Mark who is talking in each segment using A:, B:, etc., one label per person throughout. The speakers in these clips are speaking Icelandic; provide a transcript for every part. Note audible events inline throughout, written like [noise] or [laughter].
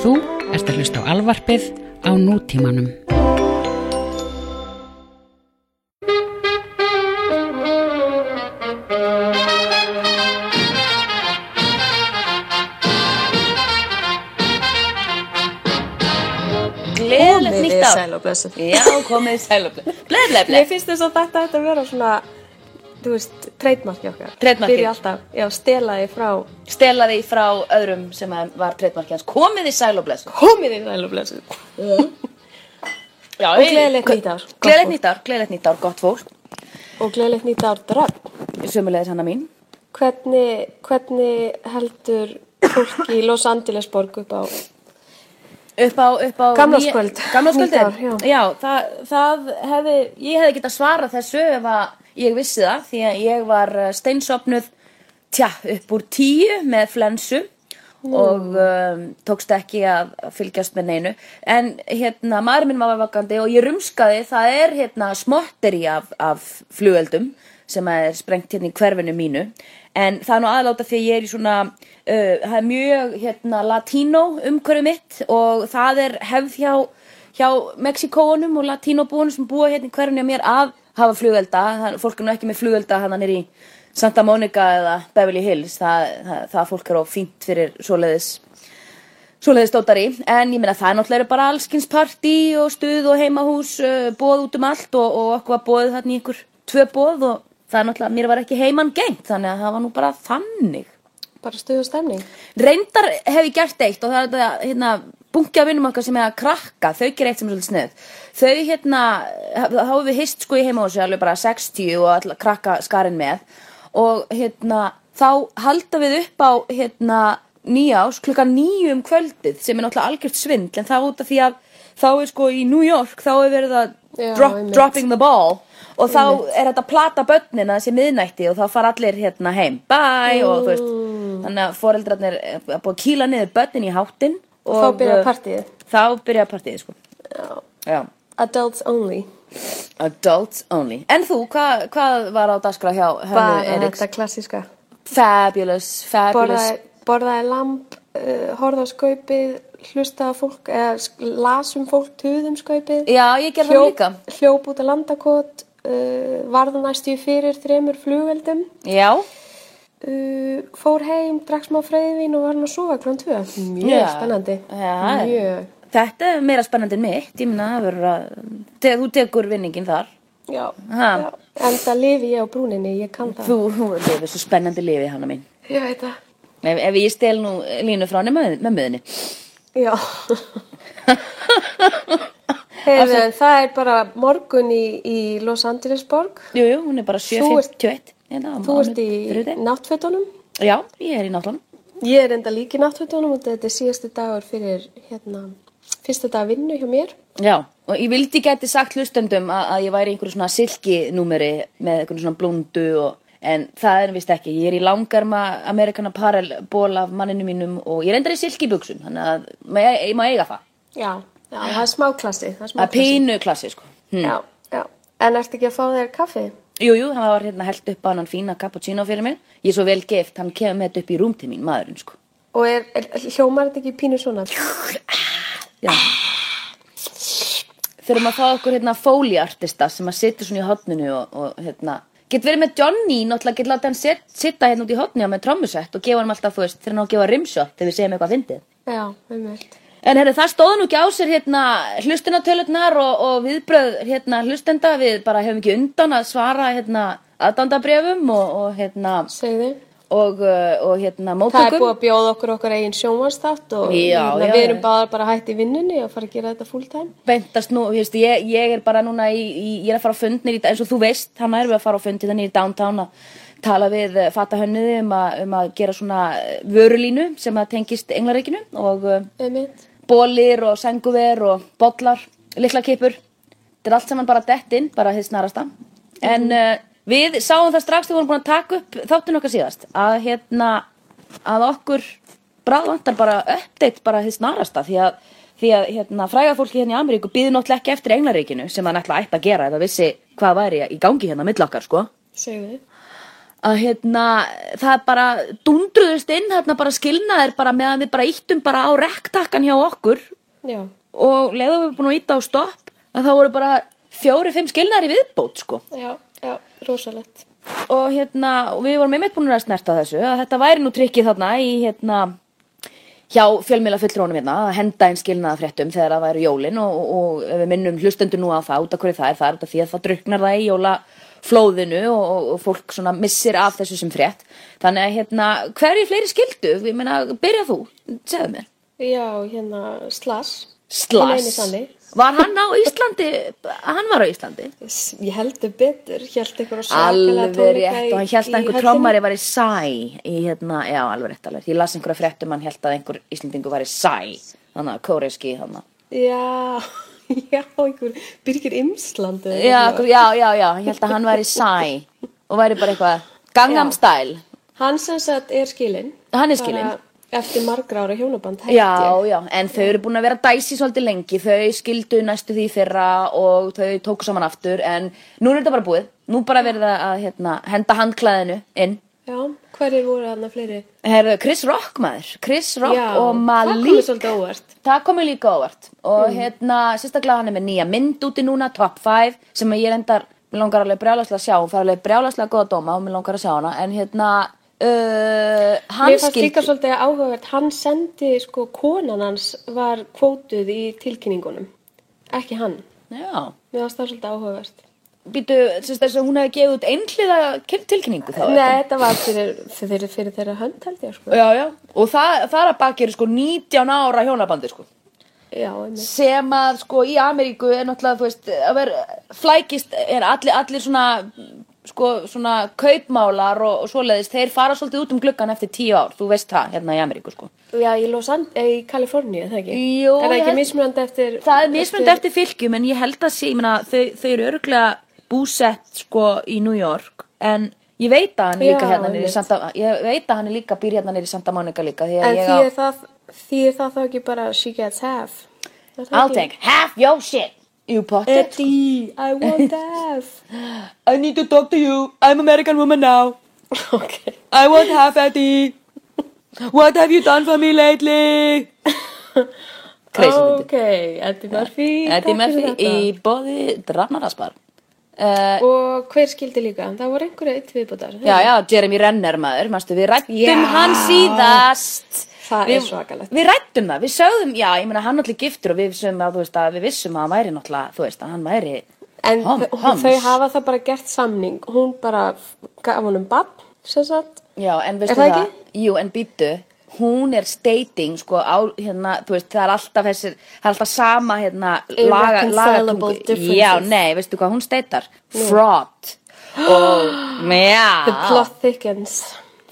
A: Þú ert að hlusta á alvarpið á nútímanum.
B: Gleðilegt nýtt ár.
C: sæl og blessuð.
B: Já, komið sælöfleg. Ble, ble, ble.
C: Mér finnst þess að þetta ætti að vera svona, þú veist, treytmarki okkar.
B: Trademarkið.
C: Byrja alltaf, já, stela þið frá
B: Stela því frá öðrum sem að var treytmarkið hans. Komið í sælöfleg.
C: komið þið sæl og blessuð.
B: Já,
C: Og gleðilegt nýtt ár.
B: Gleðilegt nýtt ár, gleðilegt nýtt ár, gott fólk.
C: Og gleðilegt nýtt ár drögg.
B: Sumulegis hana mín.
C: Hvernig, hvernig heldur fólk í Los Angeles borg upp á?
B: Upp á, upp á...
C: Gamlárskvöld.
B: Gamláskvöldin.
C: Nýtt ár, já.
B: það, það hefði, ég hefði getað svarað þessu ef að ég vissi það því að ég var eh, steinsofnuð, tja, upp úr tíu með flensu og um, tókst ekki að fylgjast með neinu. En hérna, maður minn var vakandi og ég rumskaði, það er hérna smotteri af, af flugeldum sem að er sprengt hérna í hverfinu mínu. En það er nú aðláta því að ég er í svona, uh, það er mjög hérna latínó umhverju mitt og það er hefð hjá, hjá Mexikóunum og latínóbúunum sem búa hérna í hverfinu hjá mér að hafa flugelda. Þannig, fólk er nú ekki með flugelda hann er í Santa Monica eða Beverly Hills. Það, það, það fólk er á fínt fyrir svoleiðis svoleiðis stóttari, en ég meina það er náttúrulega eru bara allskins partí og stuð og heimahús, uh, bóð út um allt og, og okkur var bóðið þarna í einhver tvö bóð og það er náttúrulega, mér var ekki heiman gengt, þannig að það var nú bara þannig.
C: Bara stuð og stemning.
B: Reyndar hef ég gert eitt og það er þetta, hérna, bunkja vinnum okkar sem er að krakka, þau gerir eitt sem er svolítið snöð. Þau, hérna, þá hefur við hist sko í heimahúsi alveg bara 60 og alltaf krakka skarinn með og, hérna, þá halda við upp á, hérna, nýjás klukkan nýju um kvöldið sem er náttúrulega algjört svindl en þá út af því að þá er sko í New York, þá er verið að
C: Já,
B: drop,
C: einmitt.
B: dropping the ball og þá er þetta að plata börnin að þessi miðnætti og þá fara allir hérna heim bye og þú veist þannig að foreldrarnir er búið að kýla niður börnin í háttin og eh,
C: Þá byrjar partíið.
B: þá byrja partíð sko. Já.
C: Adults only.
B: adults only en þú, hvað, hvað var á dagskrá hjá
C: Bara
B: hennu Eriks?
C: þetta klassíska.
B: Fabulous, fabulous
C: Borðaði, borðaði lamp, uh, horða á skaupið, hlustaði á fólk, eða sk- las um fólk, tuðum skaupið.
B: Já, ég gerði það líka
C: Hljóp út að landakot, uh, varða næstu fyrir þremur flugveldum,
B: Já,
C: uh, fór heim, drakk smá freyðin og var hann að sofa klón 2. Mjög
B: Já.
C: spennandi.
B: Já.
C: Mjög.
B: þetta er meira spennandi en mitt, ég minna að vera þegar þú tekur vinningin þar
C: Já.
B: Ha.
C: Já. En það lifi ég á brúninni, ég kann það.
B: Þú, þú lifir svo spennandi lifi hana mín
C: Ég veit það.
B: Ef, ef ég stel nú línu frá henni með, með möðinni. [laughs]
C: Já. Heyrðu, það er bara morgun í, í Los Angeles borg.
B: Jú, jú, hún er bara
C: Þú ert-
B: 7.51. hérna á
C: Þú ert í
B: mánudegi.
C: náttfötunum.
B: Já, ég er í náttúrulega.
C: Ég er enda líki náttfötunum og þetta er síðasti dagur fyrir hérna, fyrsta dag vinnu hjá mér.
B: Já, og ég vildi geti sagt hlustendum að, að ég væri í einhverju svona silkinúmeri með einhverju svona blundu og, en það er vist ekki. Ég er í langarma Amerikana Parel ból af manninu mínum og ég er endar í silkibuxum, þannig að ma- ég má eiga það.
C: Já. Já, það er smáklassi. Það er
B: Það er
C: smáklassi.
B: pínu klassi, sko. Hm.
C: Já, já. En ertu ekki að fá þér kaffi?
B: Jú, jú, hann var hérna held upp á hann fína cappuccino fyrir mig. Ég er svo vel geft, hann kemur með þetta upp í rúm til mín, maðurinn, sko.
C: Og er, er, hljómar þetta ekki pínu svona?
B: Já. Þurfum að fá okkur hérna fóliartista sem að sitja svona í hotninu og, og hérna Get verið með Johnny, náttúrulega get látið hann sit, sitta hérna út í hotninu með trommusett og gefa hann alltaf, þú veist, þegar hann á að gefa rimshot þegar við segjum eitthvað fyndið.
C: Já, umvöld.
B: En herri, það stóð nú ekki á sér hérna hlustunatölurnar og, og viðbröð hérna hlustenda, við bara hefum ekki undan að svara hérna aðdandabrefum og, og hérna
C: Segðu.
B: og, uh, og hérna
C: Það er búið
B: móttökum.
C: að bjóða okkur okkur eigin sjónvarsþátt og
B: Já,
C: hérna,
B: já,
C: við
B: já.
C: erum bara, bara hætt í vinnunni og fara að gera þetta full time.
B: bentast nú, þú veist, ég, ég er bara núna í, í, ég er að fara á fund nýri, eins og þú veist, hann er við að fara á fund hérna í downtown að tala við fata hönnuði um, að- um að gera svona eh, vörulínu sem að tengist englaríkinu og uh,
C: Umvöld.
B: bólir og senguver og bollar, liklakipur þetta er allt saman bara dett inn, bara þið snarasta en uh, við sáum það strax þegar við vorum búin að taka upp þáttun okkar síðast að hérna að okkur bráðvantar bara uppdeitt bara þið snarasta því að, því að hérna, fræga fólki hérna í Ameríku býði náttúrulega ekki eftir englaríkinu sem það nættilega ætti að gera eða vissi hvað væri í gangi hérna mill okkar sko
C: Segðu.
B: að hérna, það er bara dundruðust inn, hérna bara skilnaðir bara meðan við bara íttum bara á rektakkan hjá okkur
C: já,
B: og leiðum við búin að ítta á stopp að þá voru bara fjóri-fimm skilnaðir í viðbót sko
C: já, já, rosalegt.
B: og hérna, og við vorum einmitt búin að snerta á þessu, að þetta væri nú trikkið þarna í hérna hjá fjölmjöla fulltrónum hérna, að henda einn skilnaðafréttum þegar það væri jólin og, og, og ef við minnum hlustendur nú á það, út af hverju það er það er út af því að það druknar það í jólaflóðinu og, og, og fólk svona missir af þessu sem frétt, þannig að hérna hverju fleiri skildu, ég meina byrja þú, segðu mér,
C: Já, hérna, slass. Hinn eini
B: Slass
C: sanni.
B: var hann á Íslandi hann var á Íslandi
C: S- Ég heldur betur, hjælt einhver á svakalega
B: Alveg
C: tónleika
B: rétt og hann held að einhver trommari var í sæ í hérna, já alveg rétt alveg rétt. ég las einhverja fréttum hann held að einhver Íslendingu var í sæ þannig að kóreski þannig
C: Já, [laughs] já, einhver Birgir Imsland.
B: já,
C: eða eitthvað.
B: akkur- já, já, já, hann held að hann var í sæ og væri bara eitthvað Gangnam
C: Já.
B: Style
C: Hann sem sagt er skilinn.
B: Hann er skilinn.
C: Bara Eftir margra ára hjónaband, held
B: Já,
C: ég.
B: já, en þau eru búin að vera dæsi svolítið lengi, þau skildu næstu því í fyrra og þau tóku saman aftur en nú er þetta bara búið, nú bara verið að hérna, henda handklæðinu inn
C: Já, hverjir voru þarna fleiri?
B: Herðu, Chris Rock maður, Chris Rock
C: já,
B: og
C: það komið
B: Malik
C: svolítið Mm. óvart.
B: Það komið líka ávart og hérna, sérstaklega hann er með nýja mynd úti núna, Top 5, sem að ég reyndar, mér langar alveg brjálaslega að sjá, hún fær alveg brjálaslega góða dóma og mér langar að sjá hana, en hérna, uh,
C: Mér
B: hann
C: fannst
B: skildi,
C: líka svolítið áhugavert, hann sendi, sko, konan hans var kvótuð í tilkynningunum, ekki hann.
B: já,
C: Mér fannst það svolítið áhugavert.
B: býtu, sérst þess að hún hefði gefið út einhliða kynnt tilkynningu þá. er
C: Nei, þetta var fyrir, fyrir, fyrir þeirra hönd, held ég,
B: þetta-
C: sko.
B: Já, já, og það, það er að baki eru sko 19 ára hjónabandi sko.
C: Já, einmitt.
B: sem að sko í Ameríku er náttúrulega þú veist að vera flækist er allir, allir svona sko svona kaupmálar og, og svoleiðis þeir fara svolítið út um gluggan eftir tíu ár þú veist það hérna í Ameríku sko
C: Já, í Los Angeles, í Kaliforníu, er það ekki?
B: Jú,
C: Er það
B: ég
C: ekki
B: held-
C: mismunandi eftir...
B: það er mismunandi eftir fylgjum en ég held að sé ég meina, þau, þau eru örglega búsett sko í New York en ég veit að hann er líka
C: Já,
B: hérna niður í
C: einmitt.
B: Santa ég veit að hann er líka býr hérna niður í Santa Monica líka því að
C: En
B: ég
C: því
B: á
C: er það, því er það þá ekki bara she gets half. Er það
B: I'll
C: ekki?
B: take half your shit you potted
C: Eddie, I
B: [laughs]
C: want half.
B: I need to talk to you I'm American woman now
C: ok.
B: I want half Eddie. What have you done for me lately? Crazy myndi.
C: Ok, Eddie Murphy,
B: Eddie
C: takk fyrir
B: Murphy
C: þetta.
B: í bóði Drafnaraspar. Uh,
C: Og hver skildi líka? Það voru einhverja eitt viðbútar.
B: já, já, Jeremy Renner maður, mástu, við rættum
C: Já.
B: hann síðast.
C: Það er
B: Við-
C: svakalegt.
B: Við rættum það, við sögðum, já, ég meina hann náttúrulega giftur og við sögum að, þú veist, að við vissum að hann væri náttúrulega, þú veist, að hann væri
C: En
B: Hom-
C: þau-
B: homs.
C: þau hafa það bara gert samning. Hún bara gaf honum bann, sem sagt.
B: Já, en veistu
C: Er það
B: það,
C: ekki?
B: jú, en býttu, hún er stating, sko, á, hérna, þú veist, það er alltaf þessir, það er alltaf sama, hérna, laga,
C: Irreconcilable
B: lagatungu.
C: differences.
B: Já, nei, veistu hvað hún statar? Fraud. [gasps] Og,
C: The
B: já,
C: plot thickens.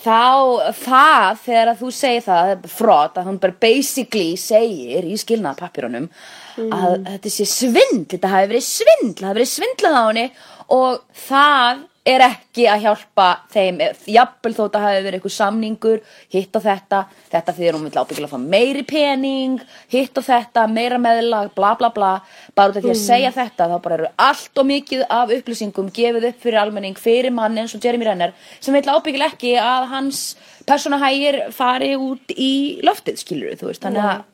B: þá, það, þegar að þú segir það, fraud, að hún bara basically segir í skilnaðapappirunum að þetta sé svindl, þetta hafi verið svindl, það hafi verið svindlað á henni og það er ekki að hjálpa þeim, jafnvel þótt að hafi verið eitthvað samningur, hitt og þetta, þetta því hún vill ábyggilega fá meiri pening, hitt og þetta, meira meðlag, bla bla bla, bara út af því
C: Mm.
B: að segja þetta, þá bara eru allt og mikið af upplýsingum gefið upp fyrir almenning, fyrir mann eins og Jeremy Renner, sem vill ábyggilega ekki að hans personahægir fari út í loftið, skilur þú veist, þannig að,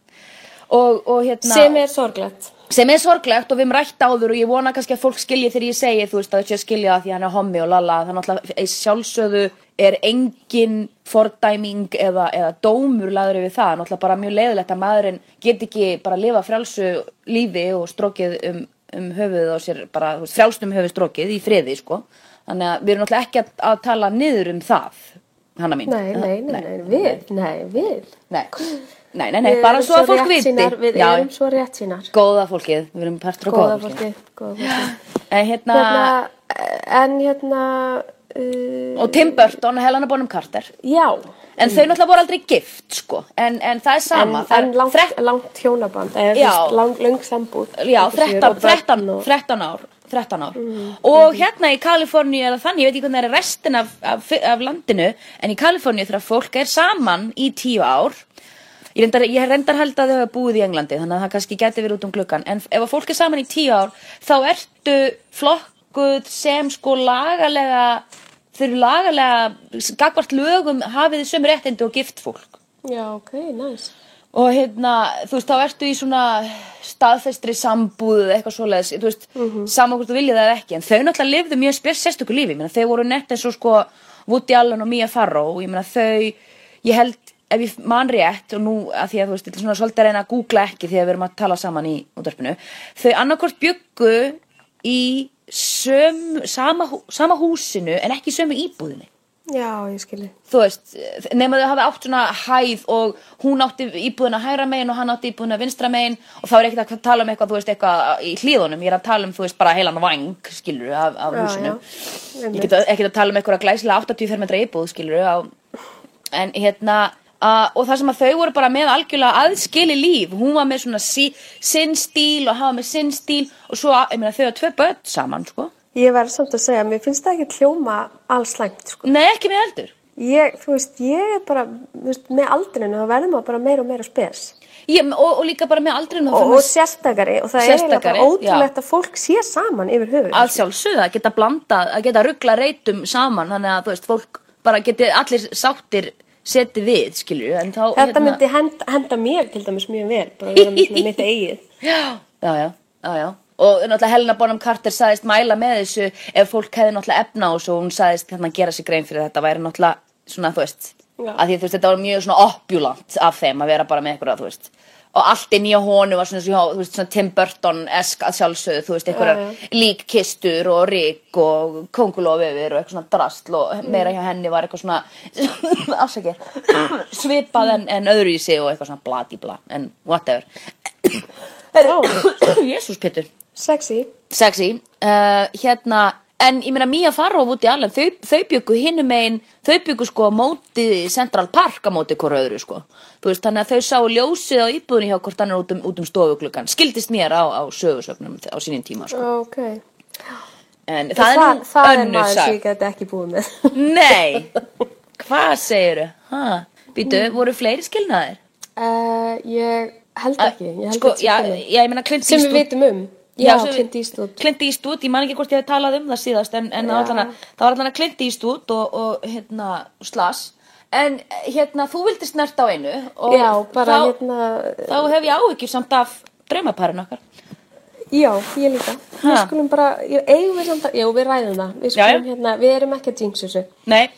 B: og, og hérna
C: Sem er sorglegt.
B: sem er sorglegt og við erum rætt áður og ég vona kannski að fólk skilji þegar ég segi þú veist að þau séu að skilja það því að hann er hommi og lala þannig náttúrulega í sjálfsögðu er engin fordæming eða, eða dómur laður yfir það náttúrulega bara mjög leiðilegt að maðurinn get ekki bara að lifa frjálsu lífi og strókið um, um höfuðið á sér bara þú veist, frjálst um höfuð strókið í friði sko þannig að við erum náttúrulega ekki að, að tala niður um það hanna mín
C: Nei, nei, nei, nei, við, nei, við.
B: nei, nei, nei, nei bara
C: erum
B: svo að fólk viti
C: réttsýnar, Við
B: Já,
C: erum svo rétt sínar.
B: góða fólkið, við erum partur á
C: Góða
B: góða fólkið
C: fólkið, góða fólkið.
B: En hérna,
C: Hérna, en hérna, uh,
B: og Tim Burton og Helena Bonham Carter.
C: já,
B: En þau náttúrulega voru aldrei gift, sko. En, en það er
C: Mm. en,
B: sama. það
C: en
B: er
C: langt,
B: þrett-
C: langt hjónaband, eða
B: Já.
C: fyrst lang, lang sambúð.
B: já,
C: Þetta séu
B: 13,
C: og Mm. börn
B: 13,
C: og-
B: 13 ár. 13 ár. Og hérna í Kaliforníu er það þannig, ég veit ekki hvernig það er í restin af, af, af landinu, en í Kaliforníu þegar fólk er saman í tíu ár, ég reyndar, ég reyndar held að þau hafa búið í Englandi, þannig að það kannski geti verið út um gluggan, en ef að fólk er saman í tíu ár, þá ertu flokkuð sem sko lagalega þeir eru lagalega gagvart lögum hafið þið sömu réttindi og gift fólk
C: Já, ok, næs.
B: og hérna, þú veist, þá ertu í svona staðfestri sambúð eða eitthvað svoleiðis, þú veist, mm -hmm. saman hvort þú viljið það eða ekki, en þau náttúrulega lifðu mjög spes- sérstöku lífi, ég meina, þau voru nett eins og sko Woody Allen og Mia Farrow, ég meina þau, ég held ef ég man rétt og nú að því að þú veist, þetta er svona svolítið að reyna að googla ekki þegar við erum að tala saman í útvarpinu, þau annarkvort byggu í söm, sama, hú- sama húsinu en ekki í sömu íbúðinni
C: Já, ég skilji.
B: þú veist, nema þau hafi átt svona hæð og hún átti íbúðina hægra megin og hann átti íbúðina vinstra megin og þá er ekkert að tala um eitthvað, þú veist, eitthvað í hlíðunum, ég er að tala um, þú veist, bara heilan vang, skilur, af, af
C: Já,
B: húsinu
C: já,
B: ég get ekkert að tala um eitthvað glæsilega 80 fermetra íbúð, skilur, á en hérna, uh, og það sem að þau voru bara með algjörlega aðskili líf hún var með svona sí, sinn stíl og hafa með sinn stíl og svo, ég meina, þau hafa tvö börn saman, sko,
C: Ég verð samt að segja, mér finnst það ekki hljóma alls slæmt, sko.
B: nei, ekki með heldur
C: Ég, þú veist, ég er bara, þú veist, með aldrinu, þá verður maður bara meira og meira spes.
B: Ég, og, og líka bara með aldrinum þá fer
C: Og,
B: maður-
C: og sérstakari, og það er eiginlega
B: Sérstakari,
C: bara ótrúlegt að fólk sé saman yfir höfuð.
B: að sjálfsögða, að geta blanda að geta ruggla reytum saman þannig að þú veist, fólk bara geti allir sáttir setið við, skilju en þá,
C: Þetta myndi henda, henda mér til dæmis mjög vel, bara að vera með svona mitt
B: [laughs]
C: eigið.
B: já, já, já, já, já og náttúrulega Helena Bonham Carter sagðist mæla með þessu ef fólk hefði náttúrulega efna á þessu og hún sagðist hérna gera sér grein fyrir þetta væri náttúrulega svona, þú veist
C: Já.
B: að því þú veist, þetta var mjög svona opjulant af þeim að vera bara með einhverja, þú veist og allt inn í honu var svona, svona, þú veist, svona Tim Burton-esk að sjálfsögðu, þú veist, einhverjar líkkistur og rík og konguloföfur og eitthvað svona drastl og meira hjá henni var eitthvað svona [laughs] afsakir, svipað en, en öðru í sig og eitthvað svona bladibla en whatever
C: Ó,
B: [coughs] Jésús Pétur
C: sexy.
B: Sexy uh, Hérna En ég meina Mía Farrow út í allan Þau, þau byggu hinum megin Þau byggu sko á móti Central Park á móti hvora öðru sko Þú veist þannig að þau sáu ljósið á íbúðinu hjá hvort annar út um, út um stofugluggan Skildist mér á, á sögusögnum á sínum tíma sko
C: Ok.
B: En
C: Það,
B: það, er nú
C: það er
B: önnur
C: maður sem ég
B: sag
C: get ekki búið [laughs] með.
B: Nei Hvað segiru? Ha? Býtu, voru fleiri skilnaðir?
C: Uh, ég held ekki, ég held
B: sko,
C: ekki
B: já,
C: þannig.
B: já, ég meina Clint
C: sem við
B: Eastwood-
C: vitum um já,
B: sem-
C: Clint Eastwood
B: Clint Eastwood, ég man ekki hvort ég hef talað um það síðast en, en það var allan að- það var allan að Clint Eastwood og, og hérna, slas en hérna, þú vildir snert á einu og
C: já, bara
B: þá,
C: hérna
B: þá hef ég áhyggjur samt af draumaparinn okkar
C: já, ég líka við
B: Ha.
C: skulum bara, ég, eigum við samt að já, við ræðum það, við
B: Já, já.
C: skulum hérna við erum ekki að jinx þessu
B: Nei,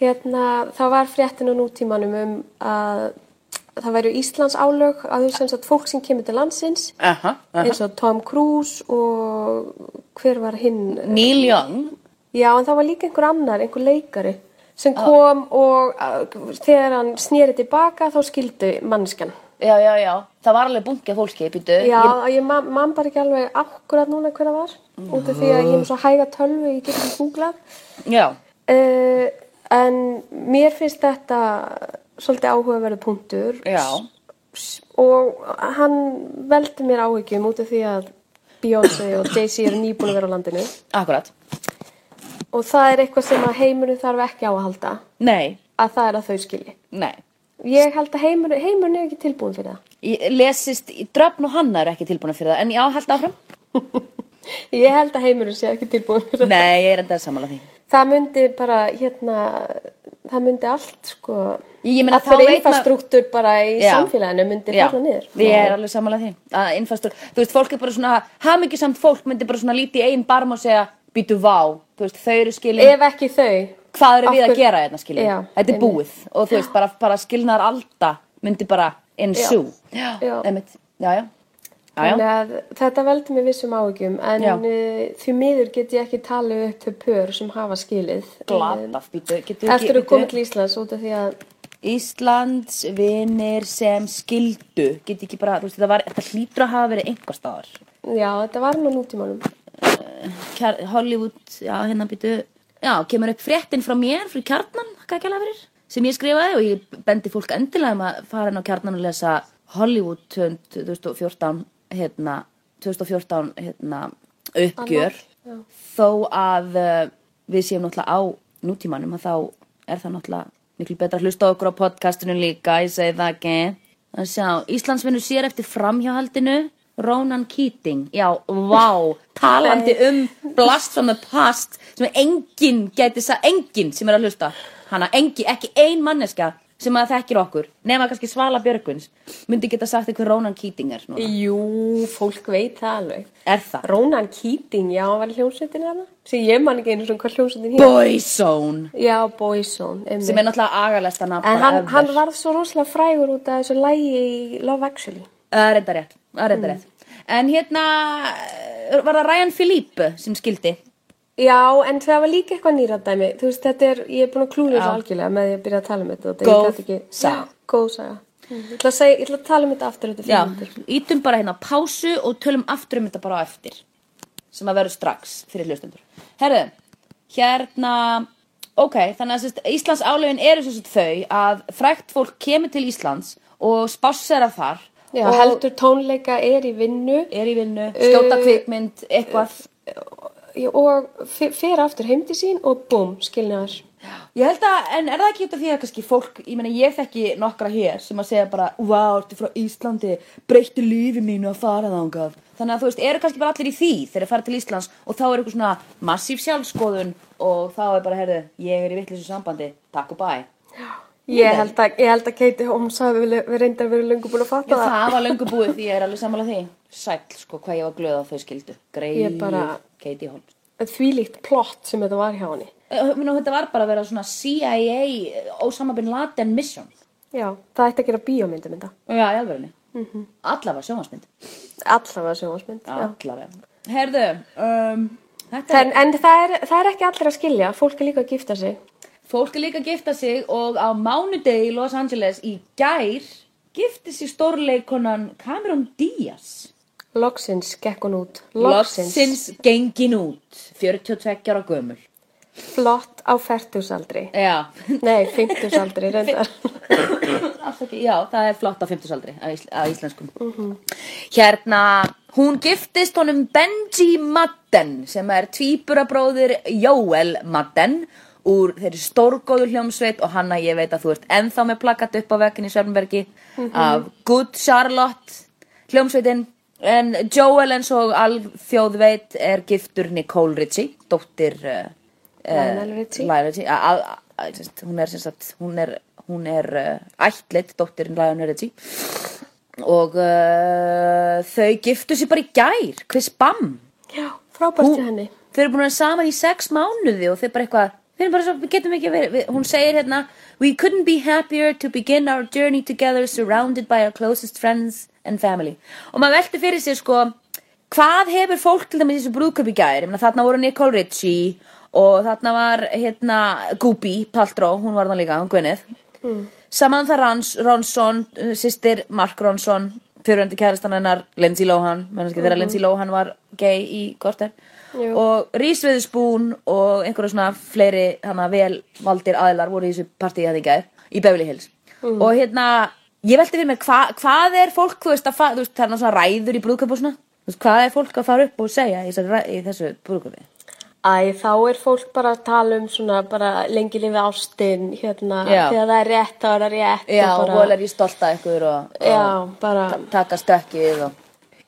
C: hérna, það var fréttin á nútímanum um að það væru Íslands álög að þú sem sagt fólk sem kemur til landsins
B: aha, aha.
C: eins og Tom Cruise og hver var hinn
B: Hérna, Neil Young
C: Já, en það var líka einhver annar, einhver leikari sem
B: Ah.
C: kom og uh, þegar hann snýri tilbaka þá skildu mannskan.
B: já, já, já, það var alveg bunkið fólki býtu,
C: Já, og ég man, man bara ekki alveg akkurat núna hver það var út af því að ég er með svo hæga tölvu, ég get ekki googlað.
B: já,
C: Uh, en mér finnst þetta svolítið áhugaverðu punktur
B: já.
C: og hann veldi mér áhyggjum út af því að Beyoncé og Jay-Z eru nýbúin að vera á landinu
B: akkurat
C: og það er eitthvað sem að heimurinn þarf ekki á að halda
B: Nei,
C: að það er að þau skilji.
B: nei
C: Ég held að heimurinn heimur er ekki tilbúin fyrir það.
B: Ég lesist, dröfn og hanna eru ekki tilbúin fyrir það en já, held
C: [laughs]
B: áfram [laughs]
C: Ég held að heimurinn sé ekki tilbúin fyrir það.
B: Nei, ég er enda að samála því
C: Það myndi bara, hérna, það myndi allt, sko.
B: Ég- ég meina, þá
C: Allur
B: veit maður-
C: infrastruktúr bara í
B: Já.
C: samfélaginu myndi falla niður.
B: Ég er alveg sammála því að infastúr, þú veist, fólk er bara svona hamingisamt fólk myndi bara svona lítið í einn barm og segja býtu vá, þú veist, þau eru skilin
C: Ef ekki þau.
B: hvað eru við
C: okkur-
B: að gera hérna skilin
C: Já,
B: þetta er
C: einmitt.
B: búið og þú veist, bara, bara skilnar alda myndi bara ensú
C: Já.
B: já,
C: Já.
B: einmitt. já, já, já, já.
C: Þannig að þetta veldi mig vissum áhugjum, en
B: Já.
C: uh, því miður get ég ekki talið upp þau pör sem hafa skilið. Eh,
B: glatað, býtu, getur
C: Eftir að koma til Íslands út af því að,
B: Íslands vinnir sem skildu getur ekki bara, þú veist, þetta var þetta hlýtur að hafa verið einhver staðar
C: já, þetta var nú nútímanum.
B: Kjar, Hollywood, já, hérna býtu Já, kemur upp fréttin frá mér, frá kjarnan, hvað ekki alveg fyrir, sem ég skrifaði og ég bendi fólk endilega um að fara inn á kjarnan og lesa Hollywood 2014, hérna, 2014, hérna, uppgjör, þó að uh, við séum náttúrulega á nútímanum að þá er það náttúrulega miklu betra að hlusta á okkur á podcastinu líka, ég segi það ekki. Það sjá, Íslandsvinnu sér eftir framhjáhaldinu, Ronan Keating, já, vá, talandi um Blast from the Past sem enginn gæti sagt, enginn sem er að hlusta hana, engin, ekki ein manneska sem að þekkir okkur, nema kannski Svala Björgvins, myndi geta sagt eitthvað Ronan Keating er núna,
C: Jú, fólk veit það alveg.
B: er það?
C: Rónan Keating, já, hann var í hljómsveitin hana. Sér ég man ekki einu svona hvað hljómsveitin hér.
B: Boyzone,
C: Já, Boyzone. einmitt.
B: sem er náttúrulega agalesta nafn
C: En
B: bara
C: hann,
B: ever.
C: hann varð svo rosalega frægur út af þessu lægi í Love Actually.
B: Það er reynda rétt, það er reynda rétt.
C: Mm.
B: En hérna, eh, var það Ryan Philippe sem skildi?
C: Já, en það var líka eitthvað nýra dæmi. Þú veist, þetta er, ég er búin að klúla þessu
B: Já.
C: algjörlega með því að byrja að tala um þetta. og þetta-
B: Góð
C: ég gat ekki-
B: saga.
C: Já, Góð saga. Ég ætla að segja, ég ætla að tala um þetta aftur eftir
B: Já,
C: fimm mínútur.
B: ítum bara hérna á pásu og tölum aftur um þetta bara á eftir sem að verður strax fyrir hlustendur Herðu, hérna ok, þannig að sérst, Íslands álegin eru svo sett þau að frækt fólk kemur til Íslands og spássera þar
C: Já,
B: og
C: heldur tónleika er í vinnu
B: er í vinnu, skjóta
C: Uh,
B: kvikmynd eitthvað,
C: Já, og fe- fer aftur heim til sín og búm, skilnaðar.
B: ég held að en er það ekki út af því að kannski fólk, ég meina ég þekki nokkra hér sem að segja bara wow, ertu frá Íslandi, breytti lífi mínu að fara þangað, þannig að þú veist eru kannski bara allir í því þegar þeir fara til Íslands og þá er eitthvað svona massíf sjálfskoðun og þá er bara, herðu, ég er í vitleysu sambandi takk og bæ,
C: Ég held að, ég held að Katie Holmes hafi verið við reyndar verið löngu búin að fatta það.
B: það var löngu búið því ég er alveg sammála því, sæll sko hvað ég var glöð að þau skildu, greið
C: Ég bara-
B: Katie Holmes
C: það. Þvílíkt plott sem þetta var hjá henni.
B: Eh, meina, Þetta var bara að vera svona CIA Osama bin Laden eh, mission
C: Já, það ætti að gera bíómyndum um þetta.
B: Já, í alvörunni mm
C: Mhm.
B: -hmm. Allavega sjónvarsmynd
C: Allavega sjónvarsmynd. já.
B: Allavega. Herðu, um, þetta
C: En, en það, er, það er ekki allir að skilja, fólk er líka að gifta sig.
B: er, fólk er líka að gifta sig og á mánudegi í Los Angeles í gær gifti sig stórleikonan Cameron Diaz.
C: Loksins gekk hún út. Loksins.
B: Loksins gengin út, 42 ára gömul.
C: Flott á fertusaldri.
B: Já,
C: Nei, fymtusaldri [laughs] reyndar.
B: Afsaki, já, það er flott á 50 aldri að, ísl, að íslenskum. Hérna, hún giftist honum Benji Madden sem er tvíburabróðir Jóel Madden úr þeirri stórgóður hljómsveit og hanna ég veit að þú ert ennþá með plakat upp á vekkinni í Svernbergi af Good Charlotte hljómsveitin en Jóel eins og alþjóð veit er giftur Nicole Ritchie, dóttir eh, uh,
C: Lionel Richie.
B: Lionel Richie a, a, a, sérst, hún er, sérst, hún er, hún er uh, ættleitt, dóttirinn Lionel Richie og uh, þau giftu sér bara í gær Chris Bam
C: Já, frábært hjá henni.
B: þau eru búin að vera saman í sex mánuði og þau bara eitthvað Við erum bara svo, við getum ekki verið, við, hún segir hérna We couldn't be happier to begin our journey together surrounded by our closest friends and family Og maður velti fyrir sér sko, hvað hefur fólk til dæmis í þessu brúðköp í gær? Ég meina, Þarna voru Nicole Richie og þarna var hérna Gubi Paltró, hún var þannig líka, hún Gwyneth Samantha Rans, Ronsson, uh, sýstir Mark Ronsson, fyriröndi kærastan hennar Lindsay Lohan, mennski þegar Lindsay Lohan var gay í korter
C: Jú.
B: og Reese Witherspoon og einhverja svona fleiri hana velvaldir aðilar voru í þessu partíi að þingað í Beverly Hills og hérna, ég velti fyrir mér hva, hvað er fólk, þú veist, að fa, þú veist, það er náttúrulega ræður í brúðköp og svona Þú veist, hvað er fólk að fara upp og segja í, þessari ræ- í þessu brúðköpi?
C: Æ, þá er fólk bara að tala um svona bara lengi lifi ástin, hérna,
B: Já.
C: þegar það er rétt, þá er það rétt.
B: Já, og
C: bara,
B: vol er ég stolt að ykkur og, og
C: Já, bara,
B: Ta- taka stökkið og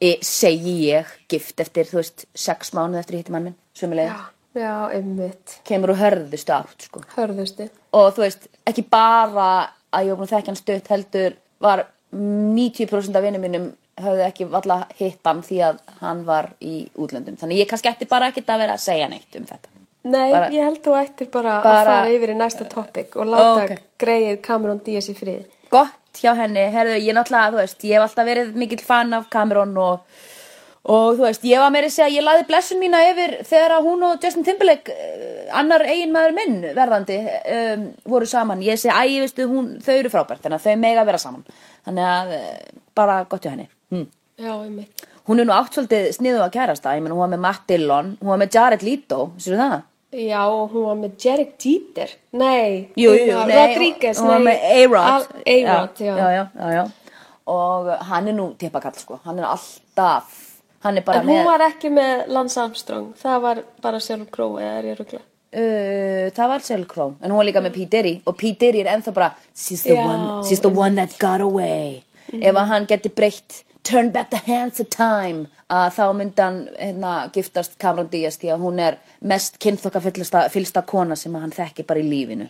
B: e, segi ég gift eftir, þú veist, sex mánuð eftir ég hitti mann minn, sömulega,
C: já, einmitt,
B: kemur og hörðustu átt, sko.
C: hörðusti.
B: Og þú veist, ekki bara að ég var búin að þekka hann stutt heldur, var 90% af vinnum mínum höfðu ekki valla hitt hann því að hann var í útlöndum. Þannig ég kannski ætti bara ekkert að vera að segja neitt um þetta.
C: Nei,
B: Bara-
C: ég held þú ættir bara,
B: Bara-
C: að fara yfir í næsta topic og láta
B: Ó, ok.
C: greið Cameron Diaz í frið.
B: gott hjá henni, herðu, ég náttúrulega, þú veist, ég hef alltaf verið mikill fan af Cameron og, og þú veist, ég var meira að segja, ég laði blessun mína yfir þegar að hún og Justin Timberlake, eh, annar eigin maður minn verðandi, um, voru saman. Ég segi, æ, ég veistu, hún, þau eru frábært, þannig að þau mega vera saman. Þannig að eh, bara gott hjá henni. Hm.
C: Já, einmitt.
B: Hún er nú átt svolítið sniðu að kærasta, ég menn, hún var með Matt Dillon, hún var með Jared Leto, sér það?
C: Já, og hún var með Derek Jeter. Nei,
B: Jú, jú,
C: hérna,
B: nei,
C: Rodriguez,
B: hún var
C: nei,
B: með A-Rod
C: Al- A-Rod, já.
B: já, já, já, já. Og hann er nú tippakall, sko, hann er alltaf, hann er bara
C: En hún
B: með,
C: var ekki með Lance Armstrong, það var bara Sheryl Crow eða er ég ruggla.
B: uh, það var Sheryl Crow, en hún var líka með P. Diddy og P. Diddy er ennþá bara, she's the,
C: Já, Mhm.
B: one, she's the one that got away, ef að hann geti breytt turn back the hands of time að þá myndi hann hérna, giftast Cameron Diaz því að hún er mest kynþokka fylsta kona sem að hann þekki bara í lífinu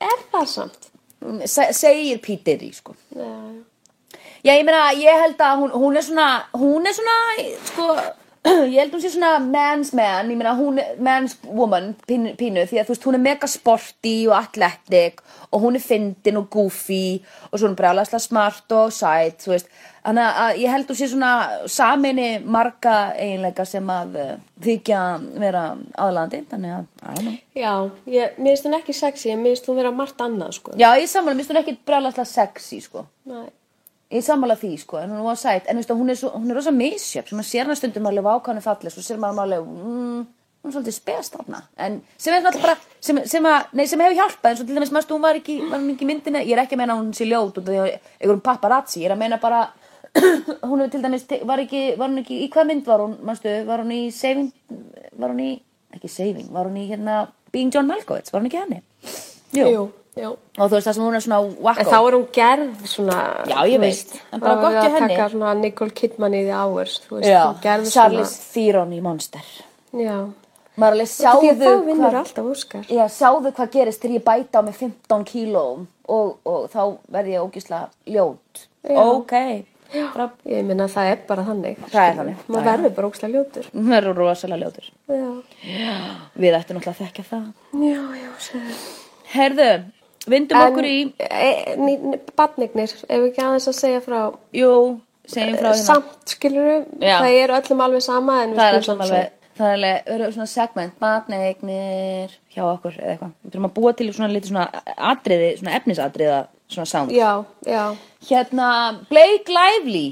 C: Er það samt?
B: Se, segir Pete Diddy sko
C: Já, já.
B: Já, ég meina, ég held að hún, hún er svona, hún er svona, sko, [clears throat] ég held hún sé svona man's man, ég meina, hún er man's woman, pínu, pínu, því að þú veist, hún er mega sporty og athletic og hún er fyndin og goofy og svona brjálæslega smart og sæt, þú veist, þannig að- að ég held hún sé svona saminni marga eiginleika sem að eh, þykja vera aðlandi, þannig að, að hana.
C: Já, ég, mér finnst hún ekki sexy, en mér finnst hún vera margt annað, sko.
B: Já, ég sammála, minnst hún ekkit brjálæslega sexy, sko.
C: Nei.
B: Ég sammála því, sko, en hún var sætt, en veistu, hún er, svo, hún er rosa misjöf, sem maður sér hana stundum alveg vákvæðan er falleg, svo sér maður alveg, mm, hún er svolítið spes þarna, en sem er náttúrulega bara, sem, sem, að, nei, sem hefur hjálpað, en svo til dæmis, maður, hún var ekki, var hún ekki í myndinni, ég er ekki að meina að hún sé ljót, út af því að einhverjum paparazzi, ég er að meina bara, [clears throat] hún hefur til dæmis, te- var ekki, var hún ekki, í hvað mynd var hún, manstu, var hún í Saving, var hún í, ekki Saving, var hún í hérna, Being John Malkovich, var hún ekki í henni? Jú.
C: Jú, jú.
B: Og þú veist það sem hún er svona wacko.
C: En þá er hún gerð svona,
B: Já,
C: þú
B: ég veit. En bara
C: það
B: gott
C: var verið
B: hjá henni.
C: Að taka svona Nicole Kidman í því áurs, þú veist,
B: Já,
C: hún gerð
B: Charlize Theron í Monster
C: svona. Já,
B: maður alveg
C: því
B: sjáðu
C: að það vinnur
B: hvað,
C: alltaf Óskar.
B: já, sjáðu hvað gerist þegar ég bæta á mig 15 kílóum og, og þá verð ég ógislega ljót
C: Já.
B: ok Frá-
C: Ég meina það er bara þannig.
B: Það er þannig,
C: Má
B: já, já.
C: verður bara ókslega ljótur.
B: hún er rosalega ljótur
C: Já,
B: við ættum náttúrulega að þekka það
C: já, já, segðu. e,
B: herðu, vindum okkur í
C: í... Badnignir, ef ekki aðeins að segja frá...
B: jú, segjum frá hérna
C: eh, Samt, skilur
B: Já.
C: það er öllum alveg sama en við
B: það er
C: skulum
B: alltaf
C: samt
B: alveg það er alveg, við erum svona segment matneignir hjá okkur eða eitthvað við þurfum að búa til svona lítið svona atriði svona efnisatriða svona sound
C: segja. Já, já,
B: Hérna, Blake Lively